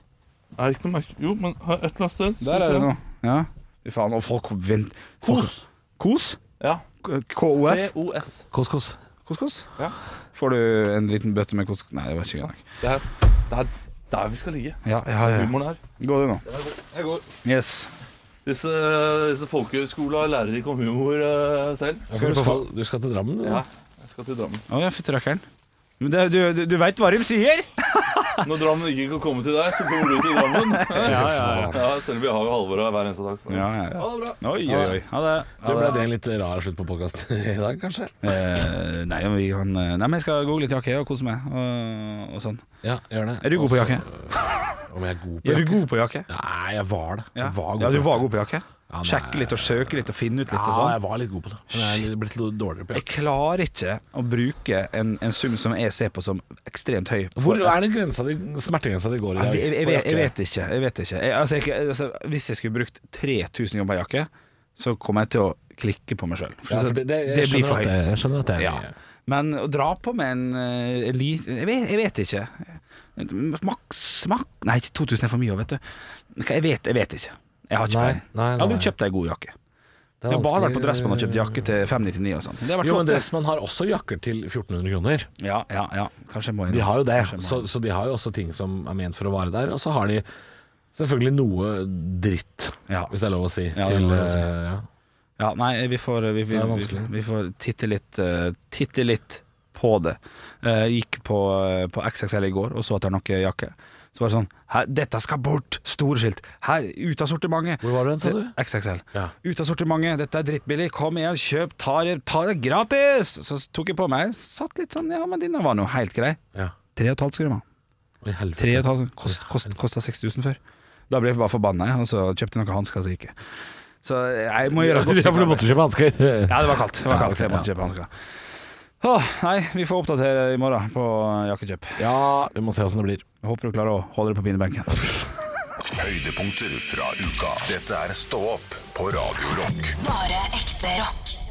[SPEAKER 3] Er det ikke noe merke Jo, men her, et eller annet sted. skal
[SPEAKER 5] Der
[SPEAKER 3] vi
[SPEAKER 5] er
[SPEAKER 3] se.
[SPEAKER 5] det noe. Ja. Fy faen, og folk vent...
[SPEAKER 3] Kos.
[SPEAKER 5] Kos?
[SPEAKER 3] Ja.
[SPEAKER 5] K- KOS?
[SPEAKER 3] COS.
[SPEAKER 6] Kos-kos.
[SPEAKER 5] Kos-kos?
[SPEAKER 3] Ja.
[SPEAKER 5] Får du en liten bøtte med kos... Nei, det var ikke greit.
[SPEAKER 3] Sant. Det er det er der vi skal ligge.
[SPEAKER 5] Ja, ja, ja.
[SPEAKER 3] Humoren her.
[SPEAKER 5] Gå du nå.
[SPEAKER 3] Jeg går.
[SPEAKER 5] Yes.
[SPEAKER 3] Disse, disse folkehøyskola lærer ikke om humor eh, selv.
[SPEAKER 6] Du skal, du skal til Drammen? du?
[SPEAKER 3] Ja. Jeg skal til Drammen.
[SPEAKER 5] Å ja, fytti rakkeren. Men det, du, du, du veit hva de sier?
[SPEAKER 3] Når Drammen ikke kan komme til deg, så kommer du til Drammen. Ja, ja, ja. selv om vi har jo Halvor her hver eneste dag. Så.
[SPEAKER 5] Ja, ja, ja. Oi, oi, oi. Ha det.
[SPEAKER 6] Du ble det en litt rar slutt på podkast i dag, kanskje?
[SPEAKER 5] Eh, nei, vi kan, nei, men jeg skal google litt jakke og kose meg. Og, og sånn.
[SPEAKER 6] Ja, gjør det.
[SPEAKER 5] Er du god på
[SPEAKER 6] Også-
[SPEAKER 5] jakke?
[SPEAKER 6] Om jeg er god på jakke?
[SPEAKER 5] Er du god på jakke?
[SPEAKER 6] Nei, jeg var det.
[SPEAKER 5] Ja,
[SPEAKER 6] Jeg var god
[SPEAKER 5] ja du
[SPEAKER 6] på
[SPEAKER 5] var
[SPEAKER 6] jakke.
[SPEAKER 5] god på jakke?
[SPEAKER 6] nei.
[SPEAKER 5] Sjekke litt og søke litt og finne ut litt og
[SPEAKER 6] Ja,
[SPEAKER 5] sånn?
[SPEAKER 6] jeg var litt god på det. Men jeg er blitt litt dårligere på
[SPEAKER 5] Jeg
[SPEAKER 6] jakke.
[SPEAKER 5] klarer ikke å bruke en, en sum som jeg ser på som ekstremt høy.
[SPEAKER 6] Hvor er det grensa di, smertegrensa di går i
[SPEAKER 5] jeg,
[SPEAKER 6] dag?
[SPEAKER 5] Altså, jeg, jeg,
[SPEAKER 6] på
[SPEAKER 5] vet- jeg
[SPEAKER 6] jakke?
[SPEAKER 5] vet ikke. Jeg vet ikke. Jeg, altså, jeg, altså, hvis jeg skulle brukt 3000 jobber jakke, så kommer jeg til å klikke på meg sjøl.
[SPEAKER 6] Ja, for det, det, jeg
[SPEAKER 5] det blir
[SPEAKER 6] skjønner
[SPEAKER 5] for
[SPEAKER 6] at det-
[SPEAKER 5] høyt.
[SPEAKER 6] Jeg skjønner at det er
[SPEAKER 5] Ja. Men å dra på med en eh, elit- jeg, vet, jeg vet ikke. Maks maks- Nei, ikke 2000 er for mye, vet du. Hva, Jeg vet, jeg vet ikke. Jeg har ikke
[SPEAKER 6] Nei,
[SPEAKER 5] peiling.
[SPEAKER 6] nei,
[SPEAKER 5] Jeg hadde
[SPEAKER 6] nei.
[SPEAKER 5] jo kjøpt ei god jakke.
[SPEAKER 6] Det er
[SPEAKER 5] Jeg har bare vært på
[SPEAKER 6] vanskelig.
[SPEAKER 5] Dressmann og kjøpt jakke til 599 og sånn. Det har vært
[SPEAKER 6] Jo, men
[SPEAKER 5] flott. det.
[SPEAKER 6] Dressmann har også jakker til 1400 kroner.
[SPEAKER 5] Ja, ja, ja. Kanskje jeg må inn.
[SPEAKER 6] De har jo det,
[SPEAKER 5] Kanskje jeg
[SPEAKER 6] så,
[SPEAKER 5] må
[SPEAKER 6] så de har jo også ting som er ment for å vare der. Og så har de selvfølgelig noe dritt,
[SPEAKER 5] Ja.
[SPEAKER 6] hvis det er lov å si.
[SPEAKER 5] Ja, det er
[SPEAKER 6] til,
[SPEAKER 5] lov å si.
[SPEAKER 6] eh, ja.
[SPEAKER 5] Ja, nei, vi får, vi, vi,
[SPEAKER 6] Det er
[SPEAKER 5] vi,
[SPEAKER 6] vanskelig.
[SPEAKER 5] vi får titte litt eh, Titte litt på det. Eh, gikk på, eh, på XXL i går og så at det er noe jakke. Så var det sånn Her, Dette skal bort! Storskilt! Her, ut av sortimentet!
[SPEAKER 6] Hvor var du hen, sa du?
[SPEAKER 5] XXL.
[SPEAKER 6] Ja.
[SPEAKER 5] Ut av sortimentet, dette er drittbillig, kom igjen, kjøp, ta det, ta det gratis! Så tok jeg på meg, satt litt sånn, ja, men denne var nå helt grei.
[SPEAKER 6] Ja.
[SPEAKER 5] Tre og et halvt skulle de ha.
[SPEAKER 6] Oi, helvete.
[SPEAKER 5] Tre og et halvt, kost, kost, kosta 6000 før. Da ble jeg bare forbanna, jeg, og så kjøpte jeg noen hansker som gikk. Så eh, jeg må gjøre et godt
[SPEAKER 6] Ja, for du
[SPEAKER 5] stykke arbeid.
[SPEAKER 6] måtte kjøpe hansker.
[SPEAKER 5] Ja, det var kaldt. Det var kaldt.
[SPEAKER 6] Ja,
[SPEAKER 5] Jeg
[SPEAKER 6] ok,
[SPEAKER 5] måtte kjøpe hansker. Åh, nei, vi får oppdatere i morgen på jakkekjøp.
[SPEAKER 6] Ja, vi må se åssen det blir.
[SPEAKER 5] Jeg håper du klarer å holde det på pinebenken.
[SPEAKER 1] Høydepunkter fra uka. Dette er Stå opp på Radio Rock.
[SPEAKER 2] Bare ekte rock.